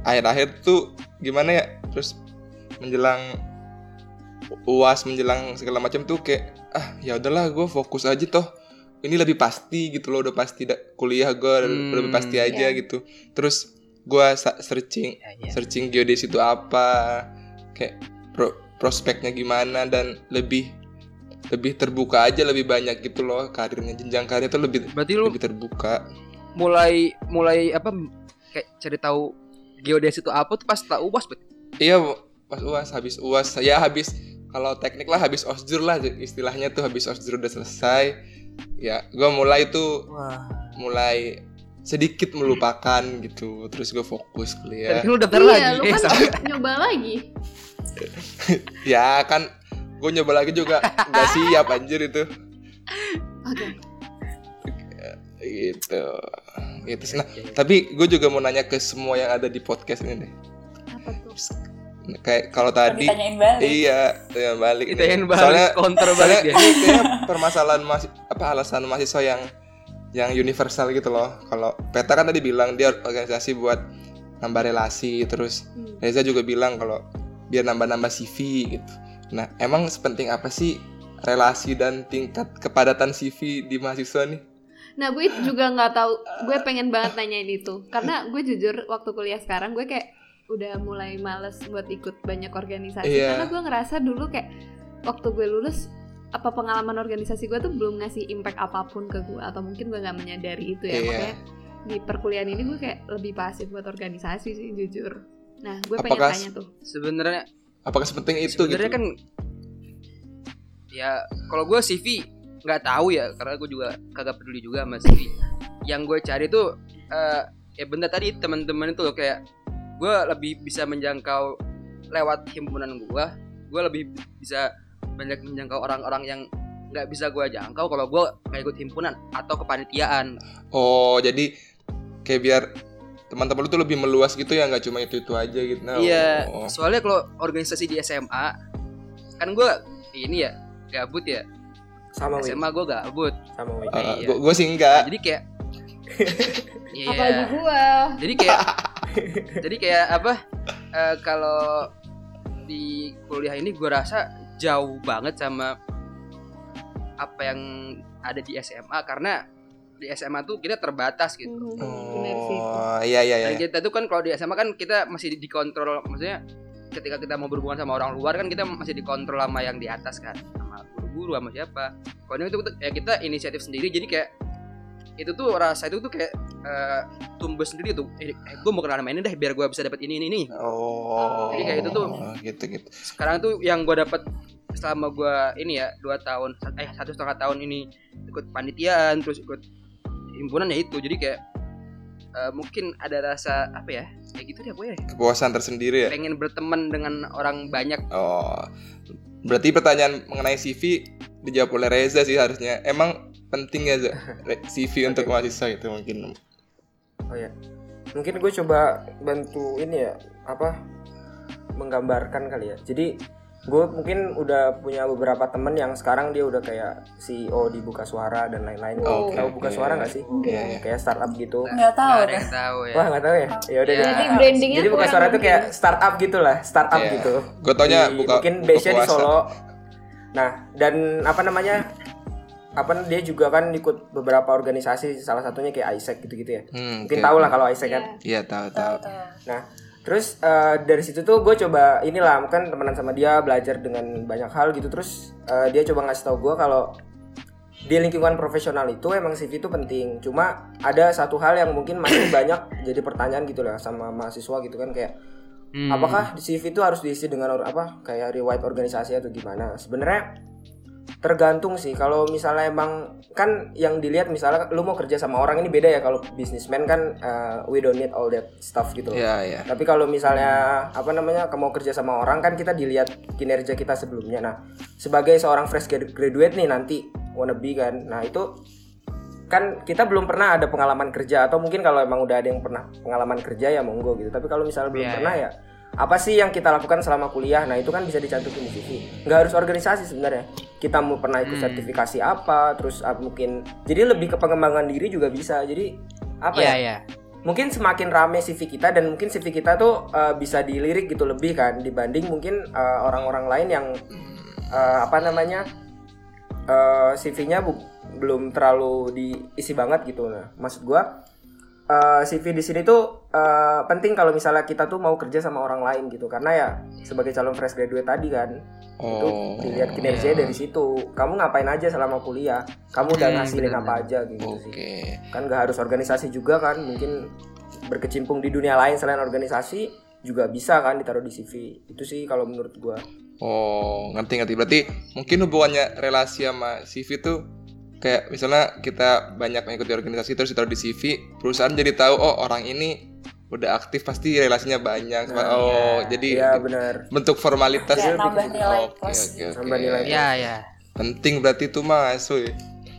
A: akhir-akhir tuh gimana ya terus menjelang uas menjelang segala macam tuh kayak ah ya udahlah gua fokus aja toh ini lebih pasti gitu loh udah pasti da- kuliah gua
B: Hmm.
A: lebih pasti aja
C: Iya.
A: gitu terus gua sa- searching
B: Ya, ya.
A: searching geodesi itu apa kayak pro- prospeknya gimana dan lebih lebih terbuka aja lebih banyak gitu loh karirnya jenjang karir itu lebih
B: Berarti lu
A: lebih terbuka
B: mulai mulai apa kayak cari tahu geodesi itu apa tuh pas tak ubas bet
A: iya pas uas habis uas ya habis kalau teknik lah habis osjur lah istilahnya tuh habis osjur udah selesai ya gua mulai tuh
B: wah
A: mulai sedikit melupakan gitu terus gue fokus kuliah
B: tapi lu daftar
C: Iya,
B: lagi
C: lu
B: eh,
C: kan
B: sama.
C: nyoba lagi.
A: ya kan gue nyoba lagi juga nggak siap anjir itu
C: Oke.
A: gitu gitu nah tapi gue juga mau nanya ke semua yang ada di podcast ini deh
C: Apa tuh?
A: kayak kalau tadi
E: ditanyain balik
A: iya yang balik
B: kita
A: nih.
B: yang
A: soalnya
B: balik counter
A: soalnya
B: balik dia
A: ini kayaknya permasalahan mas- apa alasan mahasiswa yang yang universal gitu loh kalau peta kan tadi bilang dia organisasi buat nambah relasi terus
C: Hmm.
A: Reza juga bilang kalau biar nambah-nambah CV gitu. Nah, emang sepenting apa sih relasi dan tingkat kepadatan CV di mahasiswa nih?
C: Nah, gue juga nggak tahu. Gue pengen banget nanyain itu karena gue jujur waktu kuliah sekarang gue kayak udah mulai males buat ikut banyak organisasi
A: Iya.
C: karena gue ngerasa dulu kayak waktu gue lulus apa pengalaman organisasi gue tuh belum ngasih impact apapun ke gue atau mungkin gue nggak menyadari itu ya
A: Iya.
C: makanya di perkuliahan ini gue kayak lebih pasif buat organisasi sih jujur. Nah, gue pengen
A: Apakah-
C: tanya tuh.
B: sebenarnya
A: Apakah sepenting itu gitu?
B: sebenarnya kan ya kalau gue CV nggak tahu ya karena gue juga kagak peduli juga sama CV yang gue cari tuh eh, ya benda tadi teman-teman itu loh kayak gue lebih bisa menjangkau lewat himpunan gue gue lebih bisa banyak menjangkau orang-orang yang nggak bisa gue jangkau kalau gue nggak ikut himpunan atau kepanitiaan
A: Oh, jadi kayak biar teman-teman lu tuh lebih meluas gitu ya nggak cuma itu itu aja gitu. Nah,
B: Iya,
A: oh, oh.
B: soalnya kalau organisasi di SMA kan gue ini ya gabut ya
D: Sama
A: Oh, iya.
D: Wi.
B: SMA gue gabut
D: Sama Wi.
A: Uh,
B: Iya.
A: gua, gua sih enggak.
B: jadi kayak iya
C: Apalagi gue.
B: jadi kayak jadi kayak apa eh, kalau di kuliah ini gue rasa jauh banget sama apa yang ada di SMA karena di SMA tuh kita terbatas gitu
C: Mhm, bener sih itu.
A: Oh, iya iya iya.
B: dan kita tuh kan kalau di SMA kan kita masih di- dikontrol maksudnya ketika kita mau berhubungan sama orang luar kan kita masih dikontrol sama yang di atas kan sama guru-guru sama siapa kalau ini tuh kita- ya kita inisiatif sendiri jadi kayak itu tuh rasa itu tuh kayak eh, tumbuh sendiri tuh eh, gue mau kenal sama ini deh biar gue bisa dapat ini ini ini
A: Oh.
B: Jadi kayak itu tuh.
A: Gitu gitu.
B: sekarang tuh yang gue dapat selama gue ini ya dua tahun eh satu setengah tahun ini ikut panitiaan terus ikut himpunan ya itu jadi kayak eh, mungkin ada rasa apa ya kayak gitu deh gue ya
A: Kepuasan tersendiri ya.
B: pengen berteman dengan orang banyak
A: Oh, berarti pertanyaan mengenai CV dijawab oleh Reza sih harusnya. Emang penting ya Za, Re- CV untuk mahasiswa itu mungkin.
D: Oh ya. mungkin gue coba bantu ini ya apa menggambarkan kali ya jadi gue mungkin udah punya beberapa temen yang sekarang dia udah kayak CEO di Buka Suara dan lain-lain
A: Oh, oke,
D: tahu Buka
A: oke.
D: Suara nggak sih
A: Iya, iya.
D: kayak startup gitu
E: nggak
B: Nggak
C: kan?
E: tahu
B: ada
E: deh
B: yang tahu ya
D: wah nggak tahu ya ya udah
B: Iya.
D: deh.
C: Jadi brandingnya
D: jadi Buka
C: kurang
D: Suara tuh
C: mungkin.
D: kayak startup gitulah startup
A: Iya.
D: gitu
A: Gue taunya
D: Di-
A: buka
D: mungkin
A: buka
D: base-nya di
A: puasa.
D: Solo nah dan apa namanya apa dia juga kan ikut beberapa organisasi salah satunya kayak Isaac gitu-gitu ya
A: Hmm,
D: mungkin
A: oke.
D: tau lah kalau Isaac kan
C: Iya.
A: Iya tahu
E: Tahu,
A: tahu.
E: tahu.
D: Nah, terus eh, dari situ tuh gue coba inilah kan temenan sama dia belajar dengan banyak hal gitu. Terus eh, dia coba ngasih tau gue kalau di lingkungan profesional itu emang CV itu penting. Cuma ada satu hal yang mungkin masih banyak jadi pertanyaan gitu lah sama mahasiswa gitu kan kayak
B: Hmm.
D: apakah di CV itu harus diisi dengan or- apa kayak riwayat organisasi atau gimana? Sebenarnya tergantung sih kalau misalnya emang kan yang dilihat misalnya lu mau kerja sama orang ini beda ya kalau businessman kan eh, we don't need all that stuff gitu. loh.
A: Iya iya.
D: Tapi kalau misalnya apa namanya kamu kerja sama orang kan kita dilihat kinerja kita sebelumnya. Nah, sebagai seorang fresh grad- graduate nih nanti wannabe kan. Nah, itu kan kita belum pernah ada pengalaman kerja atau mungkin kalau emang udah ada yang pernah pengalaman kerja ya monggo gitu. Tapi kalau misalnya belum
B: Iya,
D: pernah ya apa sih yang kita lakukan selama kuliah? Nah, itu kan bisa dicantumin di CV. Nggak harus organisasi sebenarnya. Kita mau pernah ikut
B: Hmm.
D: sertifikasi apa, terus ah, mungkin jadi lebih ke pengembangan diri juga bisa. Jadi apa ya?
B: Iya ya.
D: mungkin semakin rame CV kita dan mungkin CV kita tuh uh, bisa dilirik gitu lebih kan dibanding mungkin uh, orang-orang lain yang uh, apa namanya uh, CV-nya bu- belum terlalu diisi banget gitu nah maksud gua uh, CV di sini tuh uh, penting kalau misalnya kita tuh mau kerja sama orang lain gitu karena ya sebagai calon fresh graduate tadi kan itu
A: Oh.
D: dilihat kinerjanya dari situ kamu ngapain aja selama kuliah kamu udah
B: Hmm,
D: ngasilin
B: benar-benar.
D: apa aja gitu sih
A: Oke.
D: kan nggak harus organisasi juga kan mungkin berkecimpung di dunia lain selain organisasi juga bisa kan ditaruh di CV itu sih kalau menurut gua
A: Oh, ngerti ngerti. Berarti mungkin hubungannya relasi sama CV tuh kayak misalnya kita banyak mengikuti organisasi terus ditaruh di CV, perusahaan jadi tahu oh orang ini udah aktif pasti relasinya banyak.
D: Nah,
A: oh, jadi
D: iya benar
A: bentuk formalitas
E: Kayak
D: Jadi
E: nambah
D: bikin-
E: Iya, nilai
A: Oke,
E: plus
A: oke,
E: gitu.
A: oke.
D: Tambah nilai.
B: Iya ya.
A: Penting berarti itu Mas. Uy.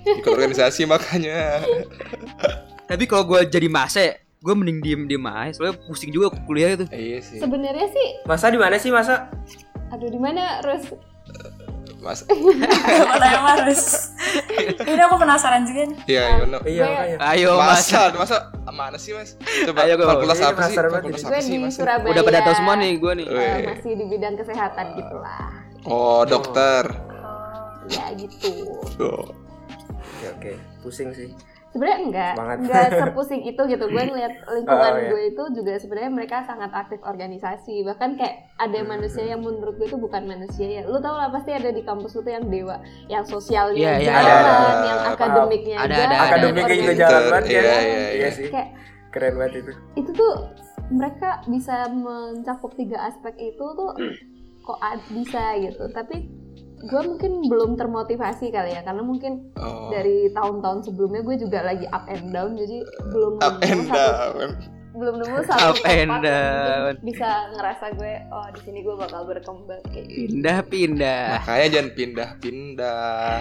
A: Ikut organisasi makanya.
B: Tapi kalau gue jadi masa ya, gue mending diem diem aja. Soalnya pusing juga kuliah itu.
A: Iya sih.
C: Sebenarnya sih,
D: masa di mana sih masa
C: aduh di mana Rus?
A: Mas.
E: Mau tanya sama Rus. Ini aku penasaran juga nih.
A: Iya, Yono.
D: iya
C: Gue-
D: makanya
B: Ayo mas.
A: Masa, masa mana sih, Mas? Coba
B: Ayo, Go.
A: fakultas
D: Ini
A: apa sih?
D: Iya, penasaran banget
A: Fakultas
D: ini.
A: apa
C: Gue
A: sih,
C: di
A: Mas?
C: Surabaya.
B: Udah pada tahu semua nih gue nih.
C: eh,
A: Weh.
C: masih di bidang kesehatan
D: Ah.
C: gitulah.
A: Oh, dokter.
C: Ya gitu.
D: Oh.
A: Tuh.
D: oke oke pusing sih
C: sebenarnya enggak
D: Semangat.
C: enggak sepusing itu gitu gue ngeliat lingkungan
D: Oh, iya.
C: gue itu juga sebenarnya mereka sangat aktif organisasi bahkan kayak ada
D: Hmm,
C: manusia yang menurut gue itu bukan manusia ya lu tau lah pasti ada di kampus lu tuh yang dewa yang
B: Iya,
C: sosialnya
B: iya,
C: jalan
D: ada,
A: ada.
C: yang
D: Paham.
C: akademiknya
B: Ada,
C: jalan,
B: ada, ada.
D: akademiknya juga
C: organisasi-
D: jalan
A: Pinter,
D: banget kan?
A: Ah, iya, iya,
D: iya
A: iya.
D: sih
C: kayak
D: keren banget itu
C: itu tuh mereka bisa mencakup tiga aspek itu tuh kok ad- bisa gitu tapi gue mungkin belum termotivasi kali ya karena mungkin
A: Oh.
C: dari tahun-tahun sebelumnya gue juga lagi up and down jadi belum
A: up
C: nemu
A: and
C: satu-
A: down.
C: belum nemu satu
B: Up
C: tempat
B: and
C: yang
B: down.
C: mungkin bisa ngerasa gue oh di sini gue bakal berkembang kayak gitu.
B: Pindah pindah.
A: Makanya jangan pindah-pindah.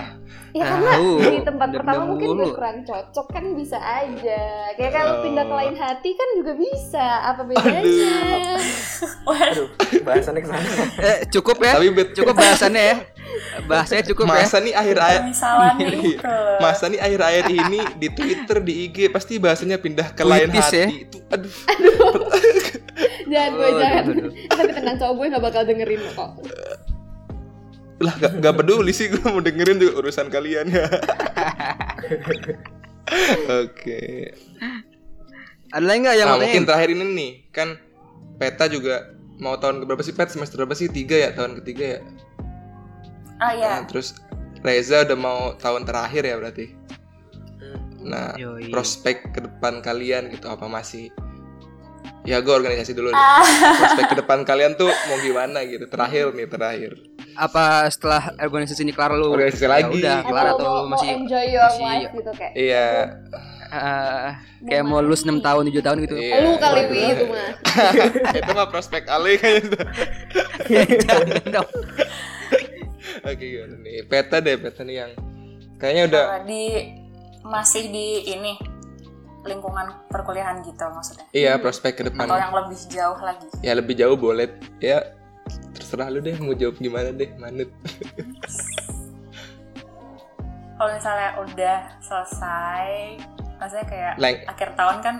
C: ya karena
B: Tahu,
C: di tempat
B: udah
C: pertama
B: pindah
C: mungkin gue
B: mulu.
C: kurang cocok kan bisa aja kayak kalau
A: Oh.
C: pindah ke lain hati kan juga bisa apa bedanya
E: Waduh,
D: aduh bahasannya kesana
B: Eh, cukup ya.
A: Tapi bet
B: Cukup bahasannya ya. Bahasanya cukup ya.
A: masa nih akhir akhir
E: misalnya nih.
A: Iya. masa nih akhir akhir ini di Twitter di IG pasti bahasanya pindah ke lain
B: Puitis ya.
A: hati. Itu aduh.
C: jangan gue
B: Aduh,
C: jangan
B: aduh, aduh.
C: tapi tenang cowok gue gak bakal dengerin kok
A: Lah gak, gak peduli sih gue mau dengerin juga urusan kalian ya. Oke.
B: Ada lagi nggak yang
A: Nah,
B: mau
A: mungkin
B: tanya?
A: terakhir ini nih kan peta juga mau tahun keberapa sih Pet semester berapa sih tiga ya tahun ketiga ya
E: Ah iya.
A: Nah, terus Reza udah mau tahun terakhir ya berarti
C: Hmm.
A: nah
B: Yoi.
A: prospek ke depan kalian gitu apa masih ya gue organisasi dulu nih.
E: Ah.
A: prospek ke depan kalian tuh mau gimana gitu terakhir nih terakhir
B: Apa setelah organisasi ini kelar lu?
A: Organisasi
B: Ya
A: lagi.
B: Udah kelar
C: atau
B: atau
C: mau,
B: lu
C: mau
B: masih eh,
C: enjoy your
B: masih-
C: life gitu kayak
A: iya
B: eh, kayak mau lulus 6 tahun 7 tahun gitu.
A: iya.
C: lu kali
A: Waduh.
C: wi itu mah
A: itu mah prospek ale kayaknya
B: Jangan dong.
A: oke gimana nih peta deh peta nih yang kayaknya udah
E: Apa, di masih di ini lingkungan perkuliahan gitu maksudnya
A: Iya, prospek ke
E: atau
A: depan.
E: yang lebih jauh lagi
A: Ya lebih jauh boleh. Ya terserah lu deh mau jawab gimana deh, Manut.
E: kalau misalnya udah selesai maksudnya kayak
A: Leng-
E: akhir tahun kan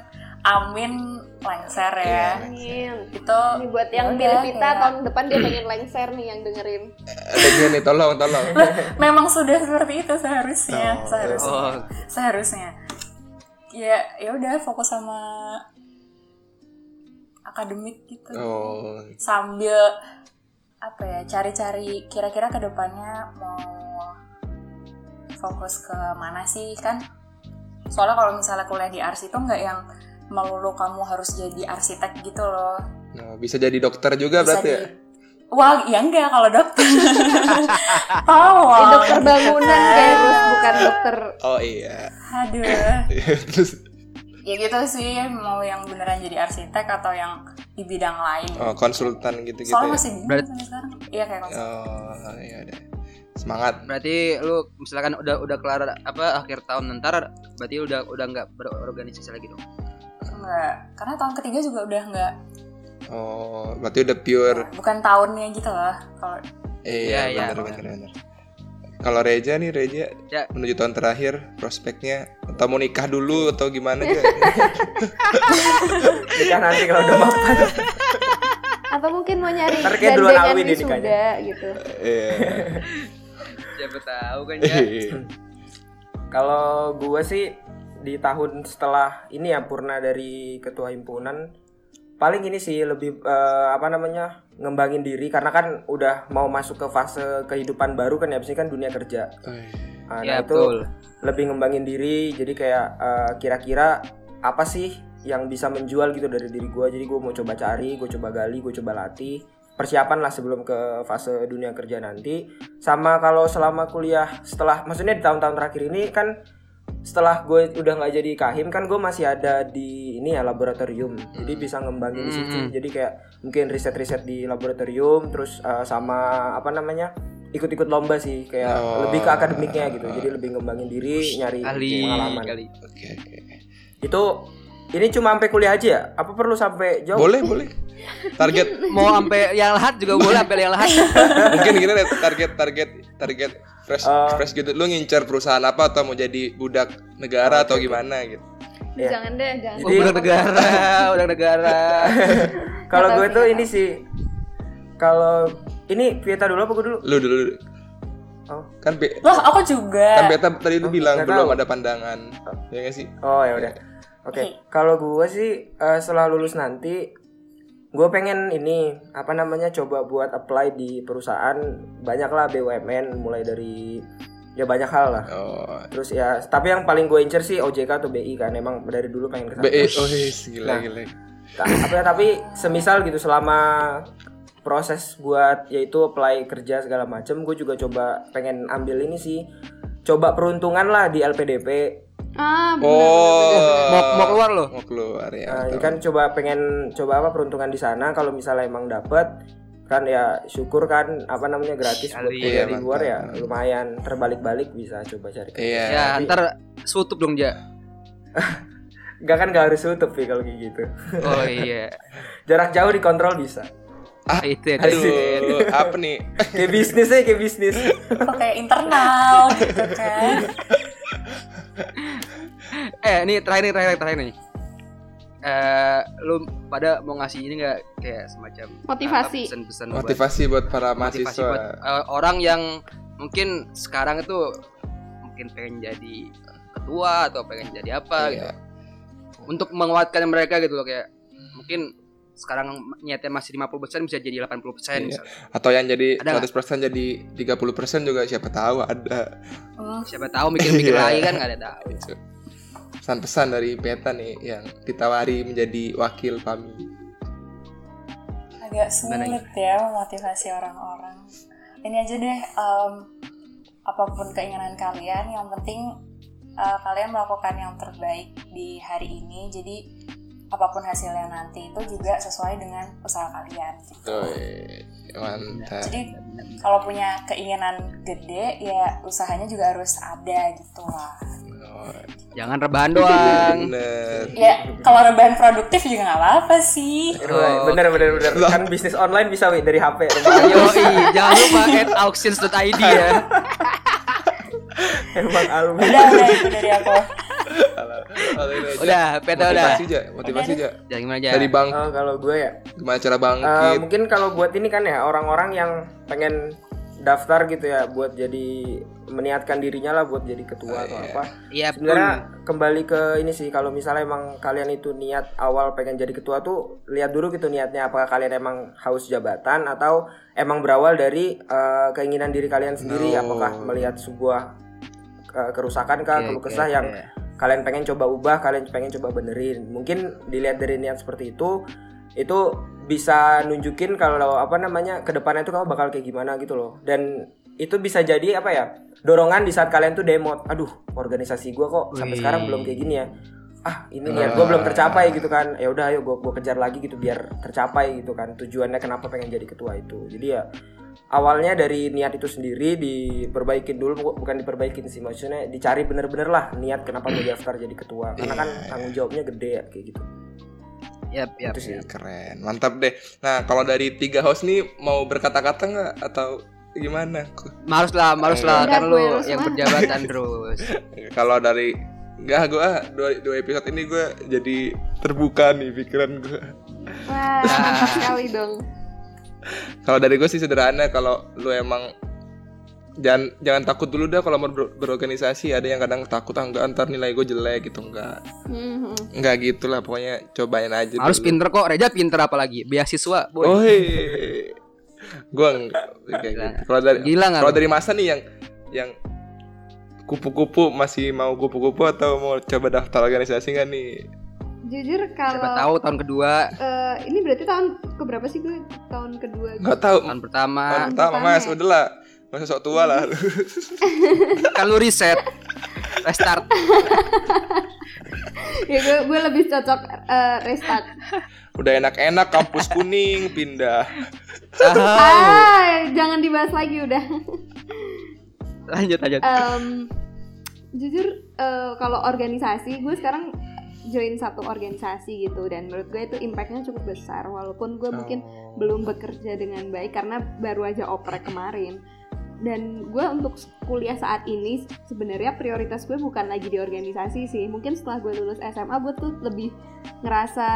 E: amin lengser
A: Iya,
E: ya
C: Amin.
E: itu
C: Ini buat yang
E: Yaudah,
C: pilih pita
E: kayak-
C: tahun depan dia pengen lengser nih yang dengerin.
A: Ada nih tolong, tolong.
E: memang sudah seperti itu seharusnya
A: Oh.
E: seharusnya
B: Oh,
E: seharusnya ya ya udah fokus sama akademik gitu
A: Oh,
E: sambil apa ya cari-cari kira-kira kedepannya mau fokus ke mana sih kan soalnya kalau misalnya kuliah di arsi itu nggak yang melulu kamu harus jadi arsitek gitu loh
A: nah, bisa jadi dokter juga
E: bisa
A: berarti
E: di
A: ya?
E: wah ya enggak kalau dokter tolong
C: Ini dokter bangunan kayak terus bukan dokter.
A: Oh iya.
E: aduh
A: Terus
E: ya gitu sih mau yang beneran jadi arsitek atau yang di bidang lain
A: oh, konsultan gitu-gitu
E: soalnya
A: ya.
E: masih bingung
B: Berarti-
E: sampai sekarang iya kayak konsul.
A: Oh, iya deh. Semangat.
B: berarti lu misalkan udah udah kelar apa akhir tahun ntar berarti lu udah udah nggak berorganisasi lagi dong.
E: enggak karena tahun ketiga juga udah enggak
A: Oh, berarti udah pure.
E: bukan tahunnya gitu loh kalau
B: Iya,
A: Iya,
B: iya,
A: benar benar benar. Kalau Reja nih Reja
B: Ya.
A: menuju tahun terakhir prospeknya atau mau nikah dulu atau gimana aja?
D: Nikah nanti kalau udah mapan.
C: Apa mungkin mau nyari
D: Ntar kayak duluan
C: gandengan
D: Alwi deh
C: wisuda gitu.
A: Iya.
B: Siapa tahu kan ya.
D: Kalau gue sih di tahun setelah ini ya purna dari ketua himpunan paling ini sih lebih eh, apa namanya ngembangin diri karena kan udah mau masuk ke fase kehidupan baru kan ya biasanya kan dunia kerja. Ah,
B: Ya
D: nah itu
B: betul.
D: lebih ngembangin diri jadi kayak eh, kira-kira apa sih yang bisa menjual gitu dari diri gue jadi gue mau coba cari gue coba gali gue coba latih persiapan lah sebelum ke fase dunia kerja nanti sama kalau selama kuliah setelah maksudnya di tahun-tahun terakhir ini kan setelah gue udah nggak jadi kahim kan gue masih ada di ini ya laboratorium jadi bisa ngembangin di situ
B: Hmm.
D: jadi kayak mungkin riset-riset di laboratorium terus eh, sama apa namanya ikut-ikut lomba sih kayak
A: Oh.
D: lebih ke akademiknya gitu jadi lebih ngembangin diri nyari
B: Kali
D: pengalaman
B: kali.
A: Oke oke.
D: itu ini cuma sampai kuliah aja ya apa perlu sampai jauh
A: Boleh boleh. Target
B: Mau sampai yang lahat juga boleh sampai yang lahat.
A: mungkin gini deh target target target fresh
D: Eh.
A: fresh gitu. Lu ngincer perusahaan apa atau mau jadi budak negara atau gimana gitu?
D: Iya.
C: Jangan deh, jangan.
B: Oh, udah negara, udah negara.
D: kalau
C: Nggak
D: gue
C: tahu
D: tuh
C: sih,
D: ini sih kalau ini Vieta dulu apa gue dulu
A: Lu dulu. dulu.
D: Oh.
A: Kan be-
E: loh aku
A: kan
E: juga
A: beta tadi lu
D: Oh,
A: bilang
D: nggak
A: belum
D: tahu.
A: ada pandangan. Ya nggak sih?
D: Oh ya udah. Oke. Kalau gue sih eh, setelah lulus nanti gue pengen ini apa namanya coba buat apply di perusahaan banyak lah BUMN mulai dari ya banyak hal lah.
A: Oh.
D: Terus ya tapi yang paling gue incer sih OJK atau BI kan emang dari dulu pengen kesana.
A: BE, oh yes, gila
D: Nah.
A: gila.
D: Ta- apa ya, tapi semisal gitu selama proses buat yaitu apply kerja segala macem gue juga coba pengen ambil ini sih coba peruntungan lah di LPDP
C: Ah, benar.
A: Oh,
B: Mau mau keluar lo.
A: mau keluar ya.
D: Nah,
A: betul.
D: kan coba pengen coba apa peruntungan di sana kalau misalnya emang dapet kan ya syukur kan apa namanya gratis buat
B: Sekali.
D: kuliah
A: Iya,
D: di
A: mantap,
D: luar ya
A: mantap.
D: lumayan terbalik-balik bisa coba cari.
A: Iya.
B: Ya, ntar sutup dong dia.
D: Enggak kan gak harus tutup sih kalau kayak gitu.
B: Oh iya.
D: Jarak jauh dikontrol bisa.
A: Ah,
B: Itu ya. keren.
A: aduh, apa nih?
D: Kayak bisnis ya kayak bisnis.
E: pakai internal gitu kan
B: Eh, ini terakhir nih, terakhir terakhir nih. Eh, lu pada mau ngasih ini nggak kayak semacam
C: Motivasi.
B: eh, pesan-pesan buat-
A: Motivasi buat para
B: motivasi buat
A: mahasiswa.
B: eh, orang yang mungkin sekarang itu mungkin pengen jadi ketua atau pengen jadi apa gitu.
A: Iya.
B: Untuk menguatkan mereka gitu loh kayak mungkin sekarang niatnya masih 50% bisa jadi 80%
A: Iya.
B: misalnya.
A: Atau yang jadi
B: Ada
A: 100% jadi 30% juga siapa tahu ada.
E: Hmm,
B: Siapa tahu mikir-mikir
A: Iya.
B: lagi kan nggak ada tahu.
A: Gitu. Pesan-pesan dari Peta nih yang ditawari menjadi wakil PAMI.
E: agak sulit ya memotivasi orang-orang ini aja deh em, apapun keinginan kalian yang penting eh, kalian melakukan yang terbaik di hari ini jadi apapun hasilnya nanti itu juga sesuai dengan usaha kalian gitu.
A: Doi, mantap.
E: jadi kalau punya keinginan gede ya usahanya juga harus ada gitu lah
A: Oh,
B: Jangan rebahan doang.
A: Bener.
E: Ya, kalau rebahan produktif juga nggak apa-apa sih.
B: Oh, Oke.
D: Bener bener bener.
A: Loh.
D: Kan bisnis online bisa Wi, dari HP. Emang-
B: Yoi, jangan lupa at auctions.id ya.
D: Emang alumni.
E: Udah, udah itu dari aku.
A: Kalau ini aja.
B: Oh, Udah, Iya. peta udah.
A: Motivasi aja, motivasi aja.
B: Jangan gimana aja.
A: Dari bang,
D: Eh, kalau gue ya,
A: gimana cara
D: Eh,
A: bangkit?
D: mungkin kalau buat ini kan ya orang-orang yang pengen daftar gitu ya buat jadi meniatkan dirinya lah buat jadi ketua atau apa.
B: Iya, betul.
D: Sebenarnya kembali ke ini sih kalau misalnya emang kalian itu niat awal pengen jadi ketua tuh lihat dulu gitu niatnya apakah kalian emang haus jabatan atau emang berawal dari eh, keinginan diri kalian sendiri
A: No.
D: apakah melihat sebuah eh, kerusakan kah
B: Oke,
D: keluh
B: oke,
D: kesah yang
B: oke.
D: kalian pengen coba ubah, kalian pengen coba benerin. Mungkin dilihat dari niat seperti itu, itu bisa nunjukin kalau apa namanya kedepannya itu kamu bakal kayak gimana gitu loh. Dan itu bisa jadi apa ya dorongan di saat kalian tuh demo, aduh organisasi gua kok sampai
B: Wih.
D: sekarang belum kayak gini ya. Ah ini niat gua belum tercapai gitu kan. Ya udah ayo gua gua kejar lagi gitu biar tercapai gitu kan. Tujuannya kenapa pengen jadi ketua itu. Jadi ya awalnya dari niat itu sendiri diperbaikin dulu bu- bukan diperbaikin sih maksudnya dicari bener-bener lah niat kenapa mau daftar jadi ketua karena kan tanggung jawabnya gede ya kayak gitu
B: Yap, yap.
D: itu sih
A: Ih, Keren, mantap deh. Nah, kalau dari tiga host nih mau berkata-kata nggak atau gimana?
B: Harus lah, harus
A: Iya.
B: lah
C: Enggak,
B: kan lu
C: gue harus
B: yang
C: mah.
B: berjabatan terus.
A: Kalau dari nggak gue ah, dua, dua episode ini gue jadi terbuka nih pikiran gue.
C: Wah, mantap sekali dong.
A: Kalau dari gue sih sederhana kalau lu emang jangan jangan takut dulu dah kalau mau ber- berorganisasi ada yang kadang takut ah enggak ntar nilai gue jelek gitu enggak
C: Hmm, hmm.
A: enggak gitulah pokoknya cobain aja
B: Harus
A: dulu.
B: pinter kok, Reja pinter apalagi. Beasiswa, boy.
A: Oi. Gua enggak kayak gitu. Kalau dari
B: Gila nggak
A: kalau
B: lu?
A: dari masa nih yang yang kupu-kupu masih mau kupu-kupu atau mau coba daftar organisasi nggak nih?
C: Jujur
B: Siapa
C: kalau
B: tahu tahun kedua,
C: eh, ini berarti tahun keberapa sih gue? Tahun kedua. gue.
A: Enggak tahu.
B: tahun pertama.
A: Tahun pertama Mas,
C: Bukan ya.
A: udahlah. Masa sok tua lah. lu.
B: Kan lu reset. Restart.
C: ya gue, gue lebih cocok eh, restart.
A: Udah enak-enak kampus kuning pindah.
B: Ah,
C: Ah, jangan dibahas lagi udah.
B: lanjut lanjut.
A: Ah.
C: Em, jujur eh, kalau organisasi gue sekarang join satu organisasi gitu dan menurut gue itu impactnya cukup besar walaupun gue mungkin belum bekerja dengan baik karena baru aja oprek kemarin dan gue untuk kuliah saat ini sebenarnya prioritas gue bukan lagi di organisasi sih mungkin setelah gue lulus SMA gue tuh lebih ngerasa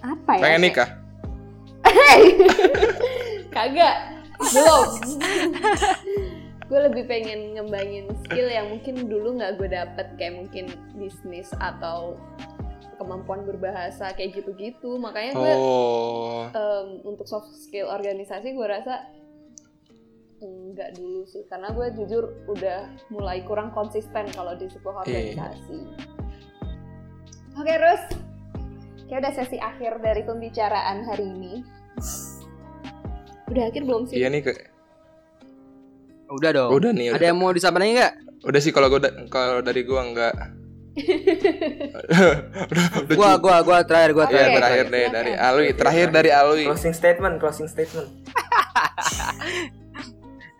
C: apa ya
A: Pengen
C: kayak-
A: nikah.
C: kagak belum gue lebih pengen ngembangin skill yang mungkin dulu nggak gue dapet kayak mungkin bisnis atau kemampuan berbahasa kayak gitu-gitu makanya gue
A: Oh.
C: em, untuk soft skill organisasi gue rasa mm, nggak dulu sih karena gue jujur udah mulai kurang konsisten kalau di sebuah
A: Iya.
C: organisasi oke Rus kayak udah sesi akhir dari pembicaraan hari ini udah akhir belum sih
A: Iya nih ke-
B: Udah dong.
A: udah nih.
B: Ada
A: Udah,
B: yang mau disampaikan lagi nggak?
A: udah sih kalau gua da- kalau dari gua enggak. udah, udah
B: Gua,
A: cukup.
B: gua, gua terakhir, gua
A: Iya,
B: terakhir.
C: Oke.
A: terakhir deh
C: Silakan.
A: dari Alwi, terakhir dari Alwi.
D: closing statement closing statement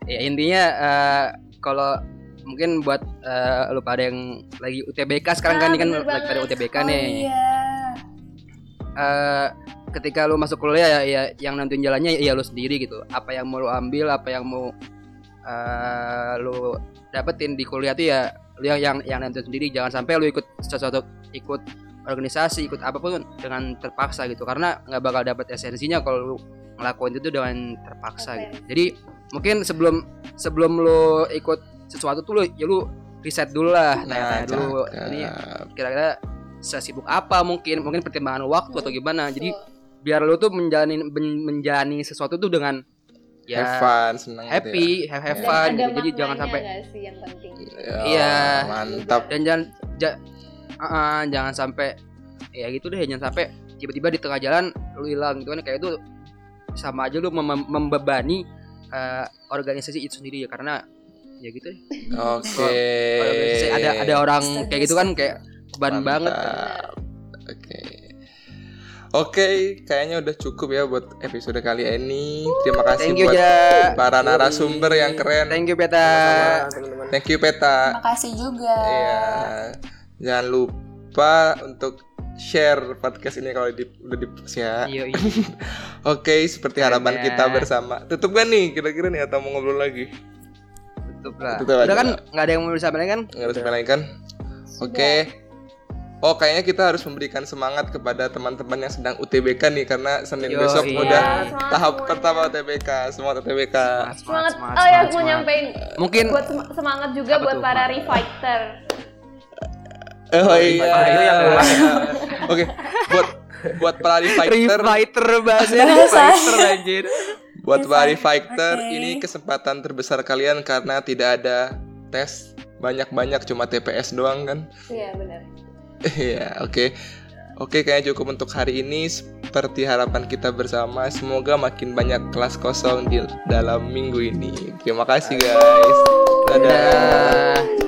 B: Ya intinya eh, kalau mungkin buat eh, lu pada yang lagi UTBK sekarang kan
C: Ah,
B: ini kan
C: bener
B: lagi pada
C: banget.
B: UTBK
E: Oh
B: nih.
E: iya.
B: eh, ketika lu masuk kuliah ya, ya yang nentuin jalannya ya lu sendiri gitu apa yang mau lu ambil apa yang mau eh, lu dapetin di kuliah tuh ya lu yang yang, yang nentuin sendiri jangan sampai lu ikut sesuatu ikut organisasi ikut apapun dengan terpaksa gitu karena nggak bakal dapet esensinya kalau lu ngelakuin itu dengan terpaksa gitu. jadi mungkin sebelum sebelum lu ikut sesuatu tuh lu ya lu riset dulu lah tanya-tanya Nah, dulu
A: Nah, cakep.
B: ini kira-kira sesibuk apa mungkin mungkin pertimbangan waktu
C: Hmm,
B: atau gimana jadi biar lu tuh menjalani men- menjalani sesuatu tuh dengan
A: have
B: ya
A: fun, seneng gitu ya.
B: happy have, have
A: Dan
B: fun
C: ada
B: gitu. jadi jangan
C: maknanya
B: sampai
C: nggak sih yang penting
A: Ya,
B: Iya.
A: Mantap.
B: dan jangan ja- uh-uh, jangan sampai ya gitu deh jangan sampai tiba-tiba di tengah jalan lu hilang gitu kan kayak itu sama aja lu mem- membebani uh, organisasi itu sendiri ya karena ya gitu deh.
A: Oke.
B: Organisasi ada ada orang kayak gitu kan kayak beban
A: Mantap.
B: banget
A: Oke. Oke, kayaknya udah cukup ya buat episode kali ini. Terima kasih
B: thank you
A: buat
B: ja
A: para narasumber yang keren.
B: thank you beta
D: Sama teman-teman
A: Thank you Peta.
E: Makasih juga.
A: Iya. Jangan lupa untuk share podcast ini kalau di, udah di ya.
B: Iya, iya.
A: Oke, seperti harapan
B: Iya.
A: kita bersama. Tutup gak nih kira-kira nih atau mau ngobrol lagi?
B: Tutup lah.
A: Tutup aja
B: Udah kan
A: lah.
B: nggak ada yang mau disampaikan kan?
A: Nggak ada sebenarnya kan? Oke. Oh, kayaknya kita harus memberikan semangat kepada teman-teman yang sedang UTBK nih karena Senin
B: Yo,
A: besok
B: iya.
A: udah
C: Semangat
A: tahap
C: semuanya.
A: pertama UTBK. Semangat UTBK.
F: Semangat. oh ya, aku mau
B: semangat.
F: nyampein
B: Mungkin
F: buat sem- semangat juga
B: Apa
F: buat
B: tuh?
F: para refighter.
A: Oh
D: Reviver itu yang keluar.
A: Oke, buat buat para
B: Free
A: fighter,
B: Fighter bahasanya Free Fighter anjir.
A: buat para fighter
E: Oke.
A: ini kesempatan terbesar kalian karena tidak ada tes banyak-banyak cuma TPS doang kan?
F: Iya, benar.
A: Iya, oke. Oke, kayaknya cukup untuk hari ini. Seperti harapan kita bersama, semoga makin banyak kelas kosong di dalam minggu ini. Terima kasih, guys. Dadah.
B: Dadah.